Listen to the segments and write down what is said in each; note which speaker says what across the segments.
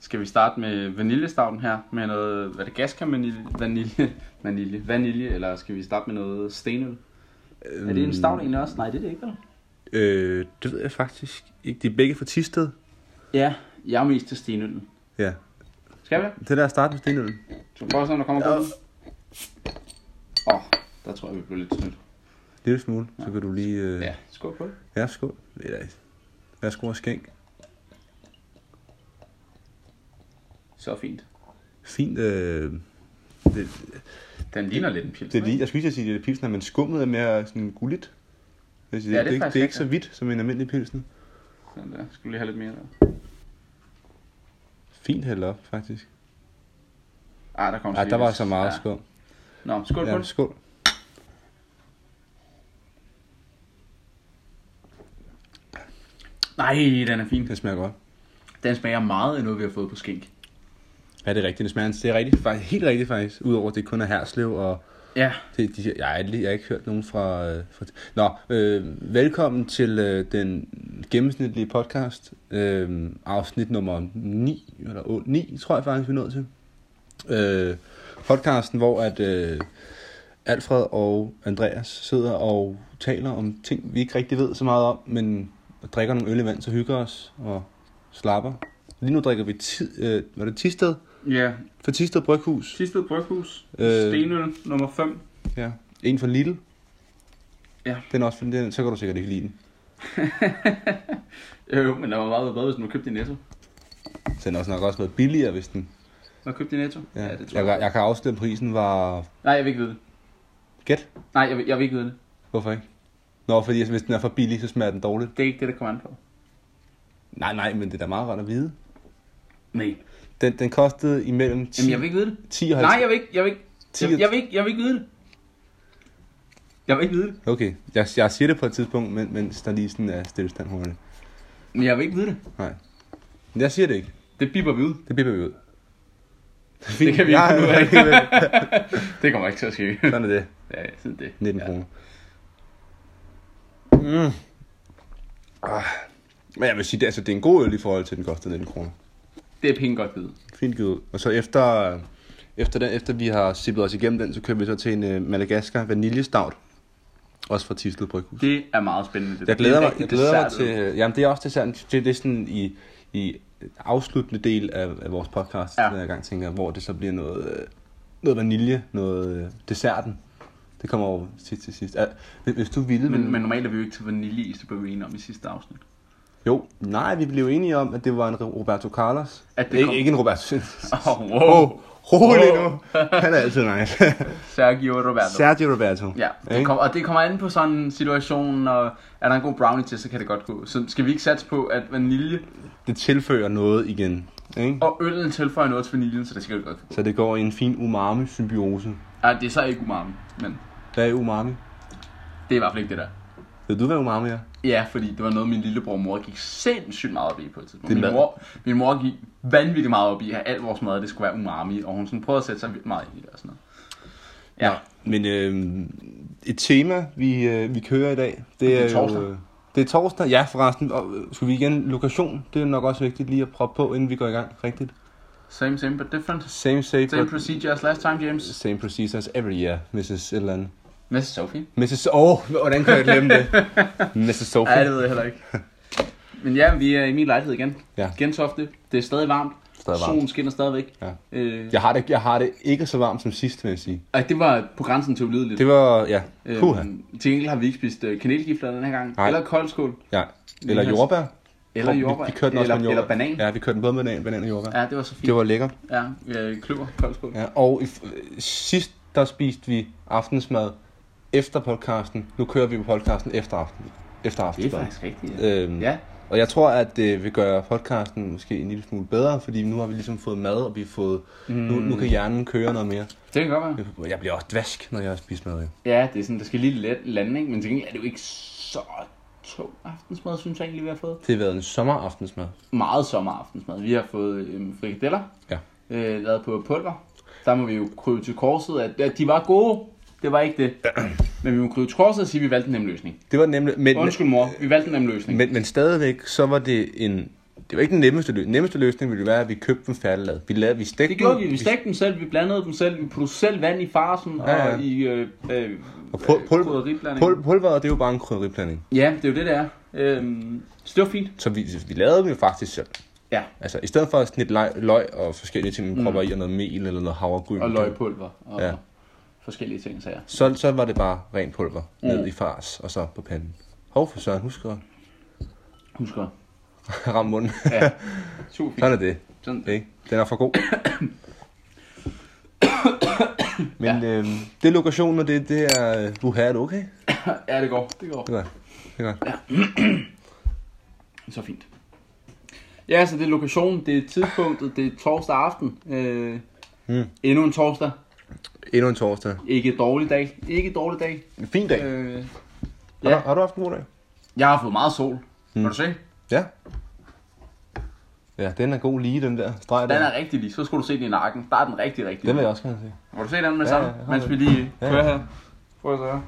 Speaker 1: Skal vi starte med vaniljestavten her? Med noget, hvad er det, gaskam vanilje? Vanilje, vanilje, vanilje, eller skal vi starte med noget stenøl?
Speaker 2: Øhm.
Speaker 1: Er det en stavt egentlig også? Nej, det er det ikke, vel?
Speaker 2: Øh, det ved jeg faktisk ikke. De er begge fra Tisted.
Speaker 1: Ja, jeg er mest til stenøllen.
Speaker 2: Ja.
Speaker 1: Skal vi det?
Speaker 2: Det der at starte med stenøllen.
Speaker 1: Skal vi prøve sådan, der kommer på
Speaker 2: Ja.
Speaker 1: den? Åh, oh, der tror jeg, vi blev lidt snydt.
Speaker 2: Lille smule. Så kan du lige... Øh,
Speaker 1: Ja, skål på det.
Speaker 2: Ja, skål. Eller, værsgo og skænk.
Speaker 1: Så fint.
Speaker 2: Fint. Øh, det,
Speaker 1: Den ligner lidt en pils.
Speaker 2: det er lige, jeg skulle lige til at sige, det er pilsner, men skummet er mere sådan gulligt. Det, ja,
Speaker 1: det er
Speaker 2: det, det, det,
Speaker 1: faktisk
Speaker 2: det er ikke så
Speaker 1: rigtigt.
Speaker 2: hvidt som en almindelig pilsner.
Speaker 1: Sådan der. Skal vi lige have lidt mere der?
Speaker 2: Fint hældt op, faktisk.
Speaker 1: Ah, der kom
Speaker 2: Nej, der var
Speaker 1: seriøst.
Speaker 2: så meget skum.
Speaker 1: Nå, skål på
Speaker 2: Ja,
Speaker 1: det.
Speaker 2: skål.
Speaker 1: Nej, den er fin.
Speaker 2: Det smager godt.
Speaker 1: Den smager meget af noget, vi har fået på skink.
Speaker 2: Ja, det er rigtigt. Det smager, det er rigtigt, faktisk, helt rigtigt faktisk. Udover at det kun er herslev og
Speaker 1: Ja,
Speaker 2: Det, de, jeg, har aldrig- jeg har ikke hørt nogen fra... øh, fra Nå, øh, velkommen til øh, den gennemsnitlige podcast, øh, afsnit nummer 9, eller 8, 9 tror jeg faktisk, vi er nået til. Øh, podcasten, hvor at øh, Alfred og Andreas sidder og taler om ting, vi ikke rigtig ved så meget om, men drikker nogle øl i vand, så hygger os og slapper. Lige nu drikker vi ti, øh, var det Tisted?
Speaker 1: ja.
Speaker 2: For Tisted Bryghus.
Speaker 1: Sidste bryghus.
Speaker 2: Øh.
Speaker 1: Øh... Stenøl nummer 5.
Speaker 2: Ja. En fra Lidl.
Speaker 1: Ja.
Speaker 2: Den er også, den, så kan du sikkert ikke lide den.
Speaker 1: Jo, men der var meget bedre, hvis du købte i Netto.
Speaker 2: Den er også nok også noget billigere, hvis den...
Speaker 1: Når du købte i Netto?
Speaker 2: Ja,
Speaker 1: det tror
Speaker 2: jeg,
Speaker 1: jeg.
Speaker 2: jeg, jeg kan afsløre, at prisen var...
Speaker 1: Nej, jeg vil ikke vide det.
Speaker 2: Gæt?
Speaker 1: Nej, jeg vil, jeg vil ikke vide det.
Speaker 2: Hvorfor ikke? Nå, fordi altså, hvis den er for billig, så smager den dårligt.
Speaker 1: Det er ikke det, der kommer an på.
Speaker 2: Nej, nej, men det er da meget rart at vide.
Speaker 1: Nej.
Speaker 2: Den, den kostede imellem 10,
Speaker 1: Jamen, jeg vil ikke vide det.
Speaker 2: 10 og 50...
Speaker 1: Nej, jeg vil ikke, jeg vil ikke,
Speaker 2: Ti-
Speaker 1: jeg, jeg vil ikke, jeg vil ikke vide det. Jeg vil ikke vide det.
Speaker 2: Okay, jeg, jeg siger det på et tidspunkt, men, mens der lige sådan er stillestand hurtigt.
Speaker 1: Men jeg vil ikke vide det.
Speaker 2: Nej. Men jeg siger det ikke.
Speaker 1: Det biber vi ud.
Speaker 2: Det bipper vi ud.
Speaker 1: Det kan vi
Speaker 2: Ja,
Speaker 1: ikke finde ud af.
Speaker 2: det kan vi-
Speaker 1: Det kommer ikke til at ske.
Speaker 2: Sådan er det.
Speaker 1: ja, sådan det.
Speaker 2: 19
Speaker 1: ja.
Speaker 2: kroner. Mm. Ah. Men jeg vil sige, det, altså, det er en god øl i forhold til, at den koster 19 kroner.
Speaker 1: Det er penge godt givet.
Speaker 2: Fint givet. Og så efter, efter, den, efter vi har sippet os igennem den, så kører vi så til en uh, Madagaskar vaniljestavt. Også fra Tisted Bryghus.
Speaker 1: Det er meget spændende. Det
Speaker 2: Jeg glæder
Speaker 1: Det er rigtig
Speaker 2: mig, jeg glæder mig til...
Speaker 1: dessertet.
Speaker 2: øh, Jamen, det er også desserten. Det, det er sådan i, i afsluttende del af, af vores podcast,
Speaker 1: Ja.
Speaker 2: ja. jeg gang tænker, hvor det så bliver noget, øh, noget vanilje, noget øh, desserten. Det kommer over sidst til sidst. Ja, hvis- hvis du ville... ville-
Speaker 1: Men, men normalt er vi jo ikke til vaniljeis, det blev vi enige om i sidste afsnit.
Speaker 2: Jo, nej, vi blev enige om, at det var en Roberto Carlos.
Speaker 1: At det
Speaker 2: ikke,
Speaker 1: kom-
Speaker 2: ikke en Roberto.
Speaker 1: Oh, wow.
Speaker 2: Rolig
Speaker 1: Wow.
Speaker 2: nu. Han er altid nice.
Speaker 1: Sergio Roberto.
Speaker 2: Sergio Roberto.
Speaker 1: Ja, det
Speaker 2: Ikke?
Speaker 1: kommer, og det kommer an på sådan en situation, og er der en god brownie til, så kan det godt gå. Så skal vi ikke satse på, at vanilje
Speaker 2: Det tilfører noget igen. Ikke?
Speaker 1: og øllen tilføjer noget til vaniljen, så det skal godt gå.
Speaker 2: Så det går i en fin umami-symbiose.
Speaker 1: Ja, det er så ikke umami, men
Speaker 2: Hvad er umami?
Speaker 1: det er i hvert fald ikke det der.
Speaker 2: Ved du, hvad umami er?
Speaker 1: Ja, fordi det var noget, min lillebror og mor gik sindssygt meget op i på et tidspunkt.
Speaker 2: Det er
Speaker 1: Min
Speaker 2: mad.
Speaker 1: mor, min mor gik vanvittigt meget op i, at alt vores mad, det skulle være umami, og hun sådan prøvede at sætte sig vildt meget ind i det og sådan noget. Ja,
Speaker 2: Nå, men øh, et tema, vi, øh, vi kører i dag, det
Speaker 1: øhm, er
Speaker 2: er,
Speaker 1: torsdag.
Speaker 2: Jo, øh, det er torsdag, ja forresten. Og, øh, skal vi igen lokation? Det er nok også vigtigt lige at proppe på, inden vi går i gang. Rigtigt.
Speaker 1: same, same, but different.
Speaker 2: Same, safe,
Speaker 1: Same
Speaker 2: but-
Speaker 1: procedure as last time, James.
Speaker 2: Same procedures every year, Mrs. et eller andet.
Speaker 1: Miss Sophie.
Speaker 2: Mrs. Oh, hvordan kan jeg glemme det?
Speaker 1: Ej,
Speaker 2: Mrs.
Speaker 1: det
Speaker 2: Sophie.
Speaker 1: ved jeg heller ikke. Men ja, vi er i min lejlighed igen.
Speaker 2: Ja.
Speaker 1: Gentofte. Det er stadig varmt.
Speaker 2: Stadig varmt.
Speaker 1: Solen skinner stadigvæk.
Speaker 2: Ja.
Speaker 1: Øh,
Speaker 2: Jeg har, det, jeg har det ikke så varmt som sidst, vil jeg sige.
Speaker 1: Ej, det var på grænsen til ulideligt.
Speaker 2: Det var, ja, puha.
Speaker 1: Øhm, til gengæld har vi ikke spist øh, kanelgifler den her gang.
Speaker 2: Nej.
Speaker 1: Eller koldskål.
Speaker 2: Ja. Eller
Speaker 1: Vi har-
Speaker 2: jordbær.
Speaker 1: Eller
Speaker 2: Vi-
Speaker 1: jordbær.
Speaker 2: Vi kørte den også
Speaker 1: eller,
Speaker 2: med jordbær.
Speaker 1: eller banan.
Speaker 2: Ja, vi kørte den både med banan, banan og jordbær.
Speaker 1: ja, det var så fint.
Speaker 2: Det var lækkert.
Speaker 1: Ja, øh, kløver, koldskål. Ja.
Speaker 2: Ja. Og i, f- sidst, der spiste vi aftensmad efter podcasten. Nu kører vi på podcasten efter aften. Efter
Speaker 1: Det er
Speaker 2: aftensmad.
Speaker 1: faktisk rigtigt, ja.
Speaker 2: Øhm,
Speaker 1: ja.
Speaker 2: Og jeg tror, at det vil gøre podcasten måske en lille smule bedre, fordi nu har vi ligesom fået mad, og vi har fået... Mm. Nu, nu kan hjernen køre noget mere.
Speaker 1: Det kan godt være.
Speaker 2: Jeg bliver også dvask, når jeg har spist mad. jo.
Speaker 1: Ja, det er sådan, der skal lige let lande, ikke? Men til gengæld er det jo ikke så tung aftensmad, synes jeg egentlig, vi har fået.
Speaker 2: Det har været en sommeraftensmad.
Speaker 1: Meget sommeraftensmad. Vi har fået øhm, frikadeller,
Speaker 2: Ja.
Speaker 1: øh, lavet på pulver. Der må vi jo krybe til korset, at, at de var gode. Det var ikke det. Men vi må krybe til korset og sige, at vi valgte en nem løsning.
Speaker 2: Det var nemlig... Men,
Speaker 1: Undskyld mor, vi valgte en nem løsning.
Speaker 2: men, men stadigvæk, så var det en det var ikke den nemmeste løsning. Den nemmeste løsning ville være, at vi købte dem færdiglavet. Vi, lavede, vi stegte
Speaker 1: Det gjorde
Speaker 2: dem,
Speaker 1: vi. Vi stegte dem selv, vi blandede dem selv, vi puttede selv vand i farsen
Speaker 2: Ja, ja.
Speaker 1: og i øh, øh,
Speaker 2: Og pul, pul,
Speaker 1: krydderiblanding.
Speaker 2: pul, pulveret, det er jo bare en krydderiblanding.
Speaker 1: Ja, det er jo det, det er. Øhm, så det var fint.
Speaker 2: Så vi, vi lavede dem jo faktisk selv.
Speaker 1: Ja,
Speaker 2: Altså, i stedet for at snitte løg, løg og forskellige ting, man propper i, og noget mel eller noget havregryn.
Speaker 1: Mm. og løgpulver og
Speaker 2: Ja.
Speaker 1: ja. forskellige ting, sager.
Speaker 2: Så, så var det bare ren pulver
Speaker 1: Mm.
Speaker 2: ned i fars, og så på panden. Hov for søren, husk at
Speaker 1: Husker.
Speaker 2: ramme munden.
Speaker 1: Ja, super fint.
Speaker 2: Sådan er det.
Speaker 1: Sådan.
Speaker 2: Ikke? Den er for god. Men ja. øhm, det er lokationen, og det, det er... Du her, er det okay?
Speaker 1: Ja, det går. Det går.
Speaker 2: Det er godt. Det er godt.
Speaker 1: Så fint. Ja, så det er lokationen, det er tidspunktet, det er torsdag aften. Øh,
Speaker 2: Mm.
Speaker 1: Endnu en torsdag.
Speaker 2: Endnu en torsdag.
Speaker 1: Ikke en dårlig dag. Ikke en dårlig dag.
Speaker 2: En fin dag.
Speaker 1: Øh,
Speaker 2: Ja.
Speaker 1: ja.
Speaker 2: Har, du, har du haft en god dag?
Speaker 1: jeg har fået meget sol.
Speaker 2: Hmm.
Speaker 1: Mm. Kan du se?
Speaker 2: Ja. Ja, den er god lige, den der streg
Speaker 1: Den
Speaker 2: der.
Speaker 1: er rigtig lige. Så skulle du se den i nakken. Der er den rigtig, rigtig.
Speaker 2: Den vil jeg også gerne se.
Speaker 1: Må du se den med
Speaker 2: Ja,
Speaker 1: ja, sammen,
Speaker 2: ja, jeg har
Speaker 1: mens
Speaker 2: det.
Speaker 1: vi lige
Speaker 2: Ja,
Speaker 1: kører
Speaker 2: ja.
Speaker 1: her? Prøv at se her.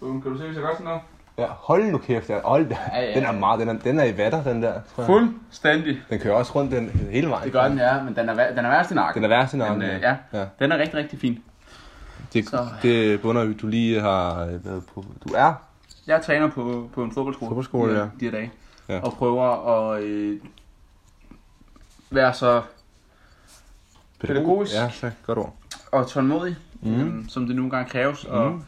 Speaker 1: Boom, kan du se, hvis jeg godt sådan noget?
Speaker 2: Ja, hold nu kæft, der. Hold da.
Speaker 1: Ja, ja.
Speaker 2: Den er meget, den er, den er i vatter, den der. tror jeg.
Speaker 1: Fuldstændig.
Speaker 2: Den kører også rundt den hele vejen.
Speaker 1: Det gør den, ja, men den er, vær- den er værst i nakken.
Speaker 2: Den er værst i nakken,
Speaker 1: Men, øh,
Speaker 2: ja.
Speaker 1: ja.
Speaker 2: Ja.
Speaker 1: ja. Den er rigtig, rigtig fin.
Speaker 2: Det,
Speaker 1: Så-
Speaker 2: det bunder jo, du lige har øh, været på. Du er
Speaker 1: Jeg træner på, på en fodboldskole,
Speaker 2: Fodboldskole,
Speaker 1: de,
Speaker 2: ja.
Speaker 1: de her dage,
Speaker 2: Ja.
Speaker 1: ja. og prøver at øh, være så Pædagogisk.
Speaker 2: Ja, tak. Godt ord.
Speaker 1: og tålmodig,
Speaker 2: Mhm.
Speaker 1: mm. øhm, som det nogle gange kræves, og
Speaker 2: Mm.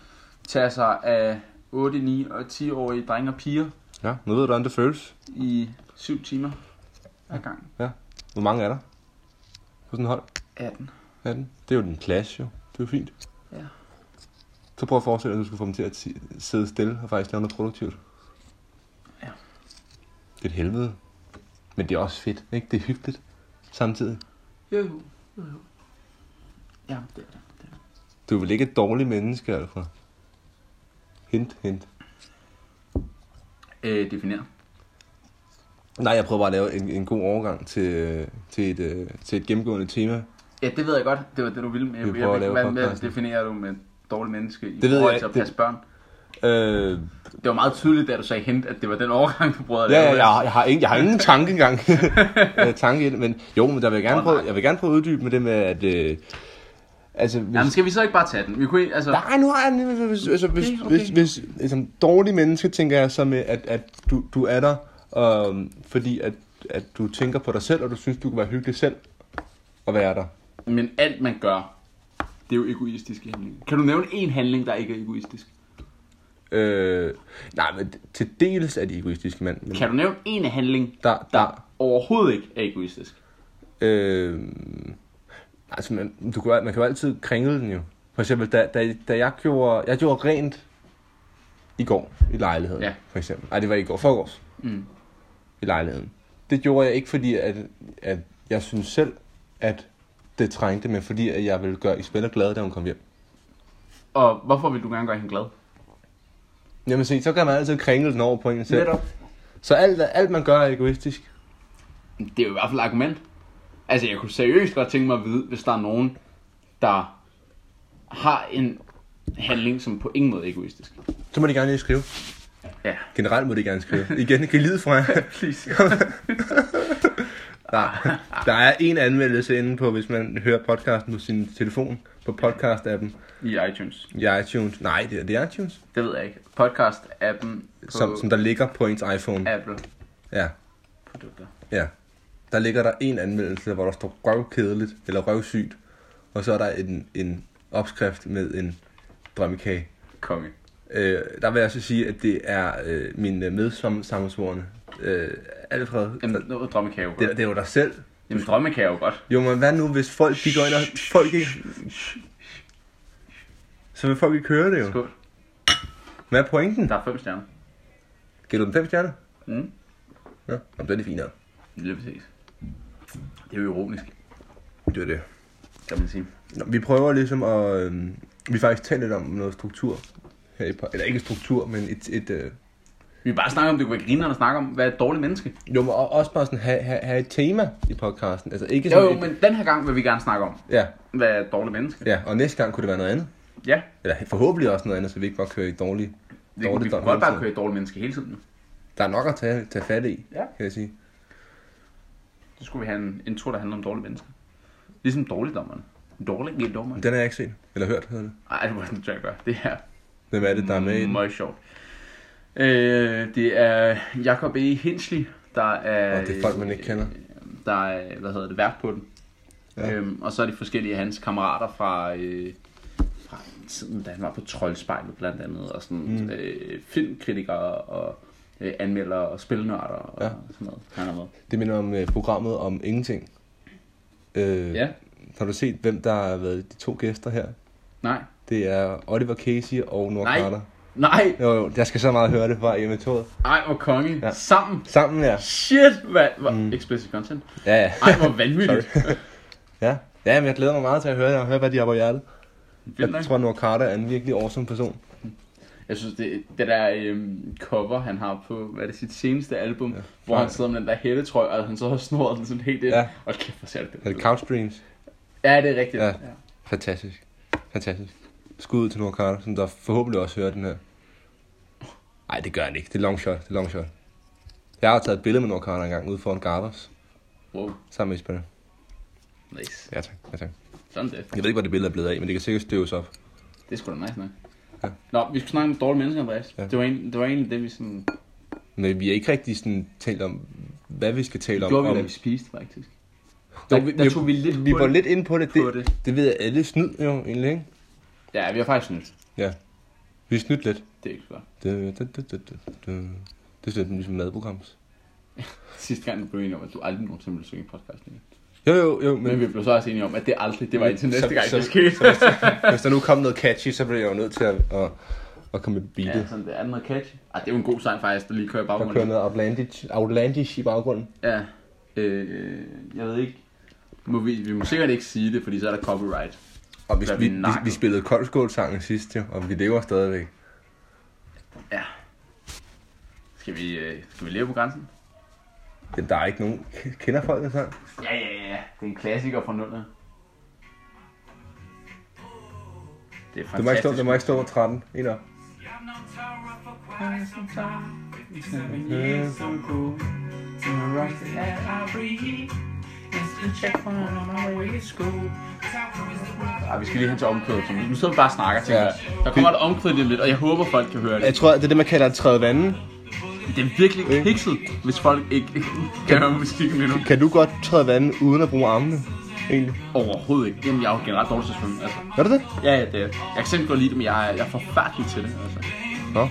Speaker 1: tage sig af 8, 9 og 10-årige drenge og piger
Speaker 2: Ja, nu ved du, hvordan det føles.
Speaker 1: i 7 timer ad gang.
Speaker 2: Hvor mange er der? På sådan et hold?
Speaker 1: 18.
Speaker 2: 18? Det er jo din klasse, jo. Det er jo fint.
Speaker 1: Ja.
Speaker 2: Så prøv at forestille dig, at du skulle få dem til at si- sidde stille og faktisk lave noget produktivt.
Speaker 1: Ja.
Speaker 2: Det er et helvede. Men det er også fedt, ikke? Det er hyggeligt samtidig.
Speaker 1: Jo, jo, jo, jo. Ja, det er det. det, er det.
Speaker 2: Du er vel ikke et dårligt menneske, Alfred? Hint, hint.
Speaker 1: Øh, definere.
Speaker 2: Nej, jeg prøver bare at lave en, en god overgang til, øh, til, et, øh, til et gennemgående tema.
Speaker 1: Ja, det ved jeg godt. Det var det, du ville med.
Speaker 2: Vi
Speaker 1: Jeg
Speaker 2: prøver at
Speaker 1: ved ikke,
Speaker 2: lave
Speaker 1: hvad, hvad
Speaker 2: podcasten.
Speaker 1: definerer du med dårlig menneske i
Speaker 2: Det ved
Speaker 1: forhold
Speaker 2: jeg
Speaker 1: til at
Speaker 2: ikke.
Speaker 1: passe børn?
Speaker 2: Øh,
Speaker 1: Det var meget tydeligt, da du sagde hint, at det var den overgang, du brød at
Speaker 2: Ja,
Speaker 1: lave.
Speaker 2: ja, jeg, har- jeg, har ingen, jeg har ingen tanke engang. øh, tanke i det, men jo, men der vil jeg gerne
Speaker 1: Åh,
Speaker 2: prøve,
Speaker 1: nej.
Speaker 2: jeg vil gerne prøve at uddybe med det med, at... Øh, altså, hvis,
Speaker 1: Jamen, skal vi så ikke bare tage den? Vi kunne, ikke- altså,
Speaker 2: Nej, nu har jeg den. Hvis, altså, hvis,
Speaker 1: Okay, okay.
Speaker 2: hvis, hvis, hvis som dårlig menneske, tænker jeg så med, at, at du, du er der, øhm, fordi at, at du tænker på dig selv, og du synes, du kan være hyggelig selv at være der.
Speaker 1: men alt man gør, det er jo egoistiske handlinger. Kan du nævne en handling, der ikke er egoistisk?
Speaker 2: Øh, nej, men til dels er de egoistiske mænd. Men
Speaker 1: Kan du nævne en handling,
Speaker 2: der, der,
Speaker 1: der overhovedet ikke er egoistisk?
Speaker 2: Øh, altså, man, du kan, jo- man kan jo altid kringle den jo. For eksempel, da, da, da jeg, gjorde, jeg gjorde rent i går i lejligheden,
Speaker 1: Ja.
Speaker 2: for eksempel. Nej, det var i går, forgårs,
Speaker 1: Mm.
Speaker 2: i lejligheden. Det gjorde jeg ikke, fordi at, at jeg synes selv, at det trængte, men fordi at jeg ville gøre Isabella glad, da hun kom hjem.
Speaker 1: Og hvorfor vil du gerne gøre hende glad?
Speaker 2: Jamen se, så kan man altid kringle den over på en selv.
Speaker 1: Netop.
Speaker 2: Så alt, alt man gør er egoistisk.
Speaker 1: Det er jo i hvert fald et argument. Altså, jeg kunne seriøst godt tænke mig at vide, hvis der er nogen, der har en handling, som på ingen måde er egoistisk.
Speaker 2: Så må de gerne lige skrive.
Speaker 1: Ja.
Speaker 2: Generelt må de gerne skrive. Igen, kan I lide fra jer?
Speaker 1: Please.
Speaker 2: Der, der er en anmeldelse inde på, hvis man hører podcasten på sin telefon, på podcast-appen
Speaker 1: I iTunes.
Speaker 2: i iTunes. Nej, det er, det er iTunes,
Speaker 1: Det ved jeg ikke. Podcast-appen på
Speaker 2: som, som der ligger på ens iPhone.
Speaker 1: Apple-produkter.
Speaker 2: Ja, ja. Der ligger der en anmeldelse, hvor der står røvkedeligt, eller røvsygt, og så er der en, en opskrift med en drømmekage.
Speaker 1: Konge.
Speaker 2: Øh, der vil jeg så sige, at det er øh, mine medsammensvorene. Øh, Alfred,
Speaker 1: Jamen, nu drømme kan jeg jo
Speaker 2: det,
Speaker 1: godt.
Speaker 2: det er jo dig selv.
Speaker 1: Jamen, drømme kan jeg jo godt.
Speaker 2: Jo, men hvad nu, hvis folk de går ind og... Folk ikke... Så vil folk ikke høre det jo.
Speaker 1: Skål.
Speaker 2: Hvad er pointen?
Speaker 1: Der er fem stjerner.
Speaker 2: Giver du den fem stjerner?
Speaker 1: Mm.
Speaker 2: Ja, Jamen, det er det finere.
Speaker 1: Lige præcis. Det er jo ironisk,
Speaker 2: Det er det.
Speaker 1: kan man sige.
Speaker 2: Nå, vi prøver ligesom at... øhm, vi har faktisk talt lidt om noget struktur. Her i, pod- eller ikke struktur, men et... et øh,
Speaker 1: Vi kan bare snakke om, det kunne være grinerne at snakke om, hvad er et dårligt menneske.
Speaker 2: jo, men og- også bare sådan have, have, have et tema i podcasten. Altså ikke
Speaker 1: Jo,
Speaker 2: sådan
Speaker 1: jo,
Speaker 2: et,
Speaker 1: men den her gang vil vi gerne snakke om,
Speaker 2: Ja,
Speaker 1: hvad er et dårligt menneske.
Speaker 2: ja, og næste gang kunne det være noget andet.
Speaker 1: Ja,
Speaker 2: Eller forhåbentlig også noget andet, så vi ikke bare kører i dårlige...
Speaker 1: det, vi
Speaker 2: dårligt
Speaker 1: kunne
Speaker 2: dom
Speaker 1: godt
Speaker 2: hele
Speaker 1: bare
Speaker 2: tiden.
Speaker 1: køre et dårligt menneske hele tiden.
Speaker 2: Der er nok at tage, tage fat i,
Speaker 1: Ja.
Speaker 2: kan jeg sige.
Speaker 1: Så skulle vi have en intro, der handler om dårlige mennesker. Ligesom dårligdommerne. Dårlige dommerne.
Speaker 2: Den har jeg ikke set, eller hørt, hedder det.
Speaker 1: Ej, det var den, jeg gør. Det er
Speaker 2: Hvem er det, der er med i den?
Speaker 1: meget sjovt. Øh, det er Jacob E. Hinsley, der er... øh,
Speaker 2: Og det er folk, man ikke kender.
Speaker 1: Der er, hvad hedder det, vært på den.
Speaker 2: Ja.
Speaker 1: Ja. Øhm, og så er de forskellige af hans kammerater fra, øh, fra tiden, da han var på Troldspejlet blandt andet, og sådan mm. øh, filmkritikere og øh, anmeldere og spilnørder og
Speaker 2: Ja.
Speaker 1: ja. sådan noget. Han er med.
Speaker 2: Det minder om øh, programmet om ingenting. Øh,
Speaker 1: Ja,
Speaker 2: Har du set, hvem der har været de to gæster her?
Speaker 1: nej.
Speaker 2: Det er Oliver Casey og Nora
Speaker 1: Nej.
Speaker 2: Carter.
Speaker 1: Nej,
Speaker 2: Jo, jo, jeg skal så meget høre det fra hjemme toget.
Speaker 1: ej hvor konge.
Speaker 2: Ja.
Speaker 1: Ja. Sammen.
Speaker 2: Sammen, ja.
Speaker 1: Shit, hvad? Hvor... Mm. Explicit content.
Speaker 2: Ja, ja.
Speaker 1: Ej, hvor vanvittigt.
Speaker 2: ja. Ja, men jeg glæder mig meget til at høre, jer, høre hvad de har på hjertet.
Speaker 1: Vildt nok.
Speaker 2: Jeg tror, Nora Carter er en virkelig awesome person.
Speaker 1: Jeg synes, det, det der øhm, cover, han har på, hvad er det, sit seneste album, ja. hvor han sidder med den der hættetrøje, og han så har snoret den sådan helt ind.
Speaker 2: Ja.
Speaker 1: Ja. Og kæft, hvor ser det
Speaker 2: Er det
Speaker 1: fedt ud.
Speaker 2: Couch Dreams?
Speaker 1: Ja, det er rigtigt.
Speaker 2: Ja.
Speaker 1: Ja. Ja.
Speaker 2: Fantastisk. Fantastisk. Skud ud til Nora Carter, som der forhåbentlig også hører den her. Nej, det gør han ikke. Det er long shot. Det er long shot. Jeg har taget et billede med Nora Carter engang ude foran Garbers.
Speaker 1: Wow,
Speaker 2: Sammen med Isbjørn.
Speaker 1: nice.
Speaker 2: Ja tak. ja tak.
Speaker 1: Sådan det.
Speaker 2: Jeg ved ikke, hvor det billede er blevet af, men det kan sikkert støves op.
Speaker 1: Det er sgu da nice nok.
Speaker 2: Ja.
Speaker 1: Ja. Nå, vi skulle snakke om dårlige mennesker, Andreas.
Speaker 2: Ja.
Speaker 1: Ja. Det, var egentlig, det var egentlig det, vi sådan...
Speaker 2: Men vi har ikke rigtig sådan talt om, hvad vi skal tale
Speaker 1: Det
Speaker 2: om.
Speaker 1: gjorde vi,
Speaker 2: om.
Speaker 1: da vi spiste, faktisk.
Speaker 2: Jo,
Speaker 1: Der,
Speaker 2: vi-
Speaker 1: der, der
Speaker 2: vi-
Speaker 1: tog vi lidt
Speaker 2: vi
Speaker 1: hul
Speaker 2: var lidt inde på det.
Speaker 1: på
Speaker 2: Det,
Speaker 1: det.
Speaker 2: det ved jeg alle snyd jo egentlig, ikke?
Speaker 1: Ja, vi har faktisk snydt.
Speaker 2: Ja. Vi snydt lidt.
Speaker 1: Det er ikke godt.
Speaker 2: Det, det, det, det, det, det. det er sådan lidt ligesom madprograms.
Speaker 1: Sidste gang, vi blev enige om, at du aldrig nogensinde ville synge i podcasten. igen.
Speaker 2: Jo, jo, jo. Men,
Speaker 1: Men vi blev så også enige om, at det aldrig, det var indtil næste gang, det skete.
Speaker 2: Så, hvis, der, hvis der nu kom noget catchy, så blev jeg jo nødt til at, at, at komme med beatet.
Speaker 1: Ja, sådan det andet catchy. Ej, det er jo en god sang faktisk, der lige kører i
Speaker 2: Og
Speaker 1: baggrunden.
Speaker 2: køre noget outlandish, outlandish i baggrunden.
Speaker 1: Ja. Øh, jeg ved ikke. Må vi, vi må sikkert ikke sige det, fordi så er der copyright.
Speaker 2: Og vi,
Speaker 1: Hvad
Speaker 2: vi,
Speaker 1: vi
Speaker 2: vi,
Speaker 1: nakker.
Speaker 2: vi spillede koldskålsangen sidst, jo, og vi lever stadigvæk.
Speaker 1: Ja. Skal vi, øh, skal vi leve på grænsen?
Speaker 2: Jamen, der er ikke nogen... Kender folk den sang?
Speaker 1: Ja, ja, ja. Det er en klassiker fra nullerne. Det er fantastisk.
Speaker 2: Du må ikke stå, du må ikke stå over 13. En op.
Speaker 3: I'm no terror for quite some time. Fifty-seven
Speaker 2: years
Speaker 3: years so cool. To my right the air I breathe. Instant checkpoint on my way to school. Tower is the rock.
Speaker 1: Ej, vi skal lige hen til omkvædet. Thomas. Nu sidder vi bare og snakker, tænker jeg. Der kommer et omkvæd lige om lidt, og jeg håber, folk kan høre det.
Speaker 2: Jeg tror, det er det, man kalder at træde vandet.
Speaker 1: Det er virkelig kikset, hvis folk ikke kan høre musikken lige nu.
Speaker 2: Kan du godt træde vandet uden at bruge armene? Egentlig.
Speaker 1: Overhovedet ikke. Jamen, jeg er jo generelt dårlig til at svømme, altså.
Speaker 2: Gør du det?
Speaker 1: Ja, ja, det er. Jeg kan selv godt lide det, men jeg er, jeg er forfærdelig til det, altså.
Speaker 2: Nå.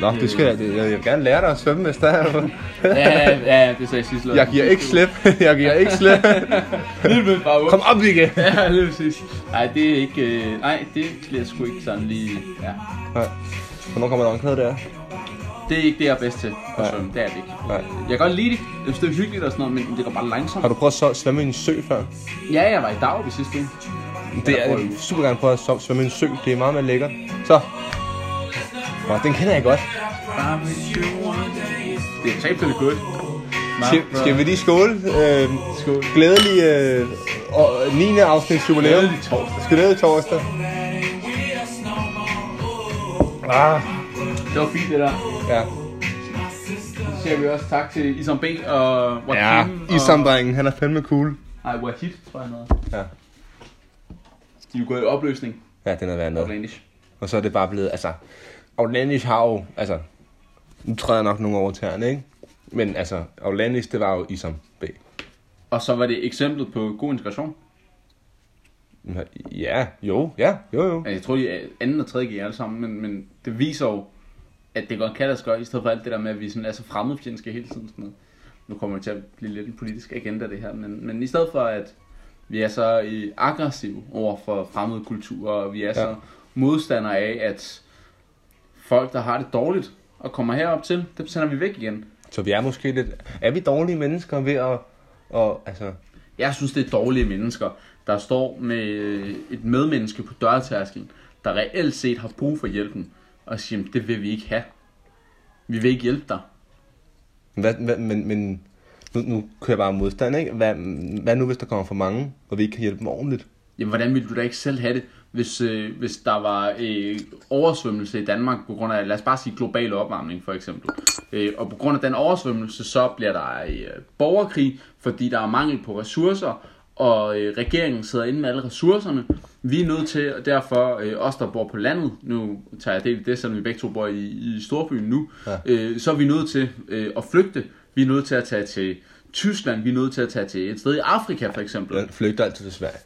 Speaker 2: Nå, det skal jeg, det, jeg vil gerne lære dig at svømme, hvis der er noget.
Speaker 1: Ja, ja, ja, det sagde sidste lørdag.
Speaker 2: Jeg giver ikke slip. Jeg giver ikke slip.
Speaker 1: Lige ved bare
Speaker 2: Kom op, Vigge.
Speaker 1: Ja, lige præcis. Nej, det er ikke... Øh, nej, det bliver sgu ikke sådan lige... Ja.
Speaker 2: Nej. Hvornår kommer der omkring der?
Speaker 1: Det er ikke det, jeg er bedst til at
Speaker 2: Nej.
Speaker 1: svømme. Det er det ikke.
Speaker 2: Nej.
Speaker 1: Jeg kan godt lide det. Jeg synes, det er hyggeligt og sådan noget, men det går bare langsomt.
Speaker 2: Har du prøvet at svømme i en sø før?
Speaker 1: Ja, jeg var i dag ved sidste uge.
Speaker 2: Det er, jeg vil super gerne prøve at sov- svømme i en sø. Det er meget mere lækkert. Så. Nå, den kender jeg godt.
Speaker 1: Det er totalt fedt godt.
Speaker 2: Skal, skal vi lige skåle? Øh,
Speaker 1: Skål.
Speaker 2: glædelig øh, og 9. afsnits jubilæum.
Speaker 1: Glædelig torsdag.
Speaker 2: Glædelig torsdag. Ah,
Speaker 1: Det var fint, det der.
Speaker 2: ja.
Speaker 1: Så siger vi også tak til Isam B og
Speaker 2: Ja,
Speaker 1: Joachim. og-
Speaker 2: Isam-drengen, han er fandme cool.
Speaker 1: Nej, Wahid, tror jeg han hedder.
Speaker 2: Ja.
Speaker 1: De er jo gået i opløsning.
Speaker 2: Ja, den er været noget.
Speaker 1: Outlandish.
Speaker 2: Og så er det bare blevet, altså... Outlandish har jo, altså... Nu træder jeg nok nogle over tæerne, ikke? Men altså, Outlandish, det var jo Isam B.
Speaker 1: Og så var det eksemplet på god integration.
Speaker 2: Ja, jo, ja, jo, jo.
Speaker 1: Altså, jeg tror, de er anden og tredje gear alle sammen, men, men det viser jo, at det godt kan lade sig gøre, i stedet for alt det der med, at vi sådan er så fremmedfjendske hele tiden. Sådan noget. Nu kommer det til at blive lidt en politisk agenda, det her, men, men i stedet for, at vi er så øh, aggressive over for fremmede kulturer, og vi er ja. så modstandere af, at folk, der har det dårligt og kommer herop til, dem sender vi væk igen.
Speaker 2: Så vi er måske lidt... Er vi dårlige mennesker ved at... Og, altså,
Speaker 1: Jeg synes, det er dårlige mennesker, der står med øh, et medmenneske på dørtærsken, der reelt set har brug for hjælpen, og siger, "Jamen, det vil vi ikke have. Vi vil ikke hjælpe dig.
Speaker 2: hvad, hvad, men, men nu, nu kører jeg bare modstand, ikke? Hvad, hvad nu, hvis der kommer for mange, og vi ikke kan hjælpe dem ordentligt?
Speaker 1: Jamen, hvordan ville du da ikke selv have det, hvis, øh, hvis der var øh, oversvømmelse i Danmark på grund af, lad os bare sige global opvarmning for eksempel. Øh, og på grund af den oversvømmelse, så bliver der øh, borgerkrig, fordi der er mangel på ressourcer, og øh, regeringen sidder inde med alle ressourcerne. Vi er nødt til, og derfor øh, os, der bor på landet, nu tager jeg del i det, selvom vi begge to bor i, i storbyen nu, ja. øh, så er vi nødt til øh, at flygte. Vi er nødt til at tage til Tyskland, vi er nødt til at tage til et sted i Afrika for eksempel
Speaker 2: Jeg flygter altid til Sverige.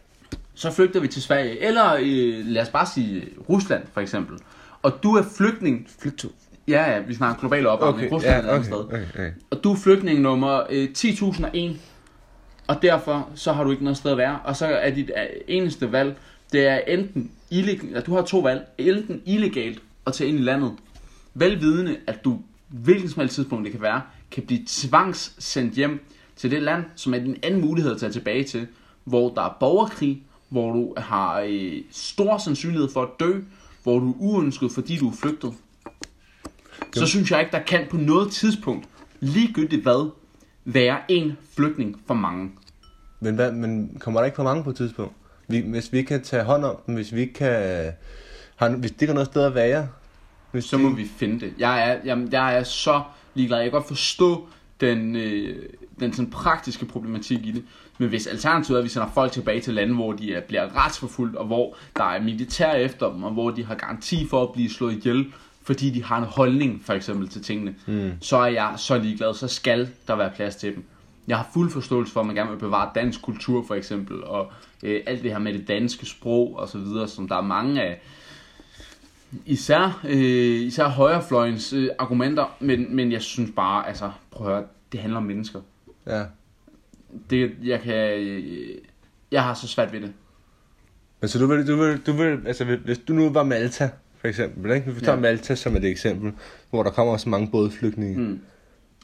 Speaker 1: så flygter vi til Sverige, eller øh, lad os bare sige Rusland for eksempel. Og du er flygtning,
Speaker 2: Flygtur.
Speaker 1: ja ja, vi snakker global opvarmning,
Speaker 2: Okay,
Speaker 1: Rusland
Speaker 2: ja,
Speaker 1: er et andet
Speaker 2: okay,
Speaker 1: sted.
Speaker 2: okay, okay.
Speaker 1: Og du er flygtning nummer øh, 10.001, og derfor så har du ikke noget sted at være. Og så er dit øh, eneste valg, det er enten, illeg- ja, du har to valg, enten illegalt at tage ind i landet, velvidende at du hvilken som helst tidspunkt det kan være, kan blive tvangssendt hjem til det land, som er din anden mulighed at tage tilbage til, hvor der er borgerkrig, hvor du har øh, stor sandsynlighed for at dø, hvor du er uønsket, fordi du er flygtet. Så synes jeg ikke, der kan på noget tidspunkt, ligegyldigt hvad, være en flygtning for mange.
Speaker 2: Men, hvad, men kommer der ikke for mange på et tidspunkt? Vi, hvis vi ikke kan tage hånd om dem, hvis vi ikke kan... Har, hvis det ikke har noget sted at være... Hvis
Speaker 1: så må vi finde det. Jeg er, jamen, jeg er så ligeglad. Jeg kan godt forstå den, øh, den sådan praktiske problematik i det. Men hvis alternativet er, at vi sender folk tilbage til lande, hvor de er, bliver retsforfulgt, og hvor der er militær efter dem, og hvor de har garanti for at blive slået ihjel, fordi de har en holdning for eksempel til tingene, mm. så er jeg så ligeglad. Så skal der være plads til dem. Jeg har fuld forståelse for, at man gerne vil bevare dansk kultur for eksempel, og øh, alt det her med det danske sprog og så videre, som der er mange af, især, øh, især højrefløjens øh, argumenter, men, men jeg synes bare, altså, prøv at høre, det handler om mennesker.
Speaker 2: Ja.
Speaker 1: Det, jeg kan, øh, jeg har så svært ved det.
Speaker 2: Men så du vil, du vil, du vil, altså hvis- hvis du nu var Malta, for eksempel, ikke? Vi tager
Speaker 1: Ja.
Speaker 2: ja. Malta som et eksempel, hvor der kommer så mange bådflygtninge. Mm.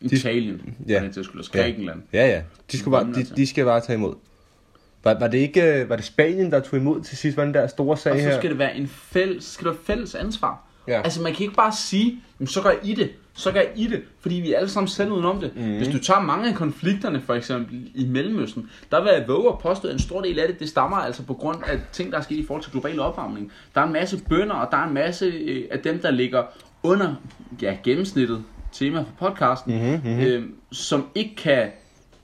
Speaker 1: Italien,
Speaker 2: ja.
Speaker 1: ja. det til skulle Grækenland. altså.
Speaker 2: Ja, ja. De, skulle bare, de,
Speaker 1: Malta.
Speaker 2: de skal bare tage imod. Var, var, det ikke, øh, var det Spanien, der tog imod til sidst? Var den der store sag
Speaker 1: Og
Speaker 2: her?
Speaker 1: så skal det være en fælles, skal der være fælles ansvar.
Speaker 2: Ja.
Speaker 1: Ja. Altså man kan ikke bare sige, Jamen, så gør I det, så gør I det, fordi vi er alle sammen selv udenom det.
Speaker 2: Mhm.
Speaker 1: Mm. Hvis du tager mange af konflikterne, for eksempel i Mellemøsten, der vil jeg våge at påstå, at en stor del af det, det stammer altså på grund af ting, der er sket i forhold til global opvarmning. Der er en masse bønder, og der er en masse øh, af dem, der ligger under ja, gennemsnittet, tema for podcasten,
Speaker 2: Mhm,
Speaker 1: mm-hmm, mm-hmm. Øh, som ikke kan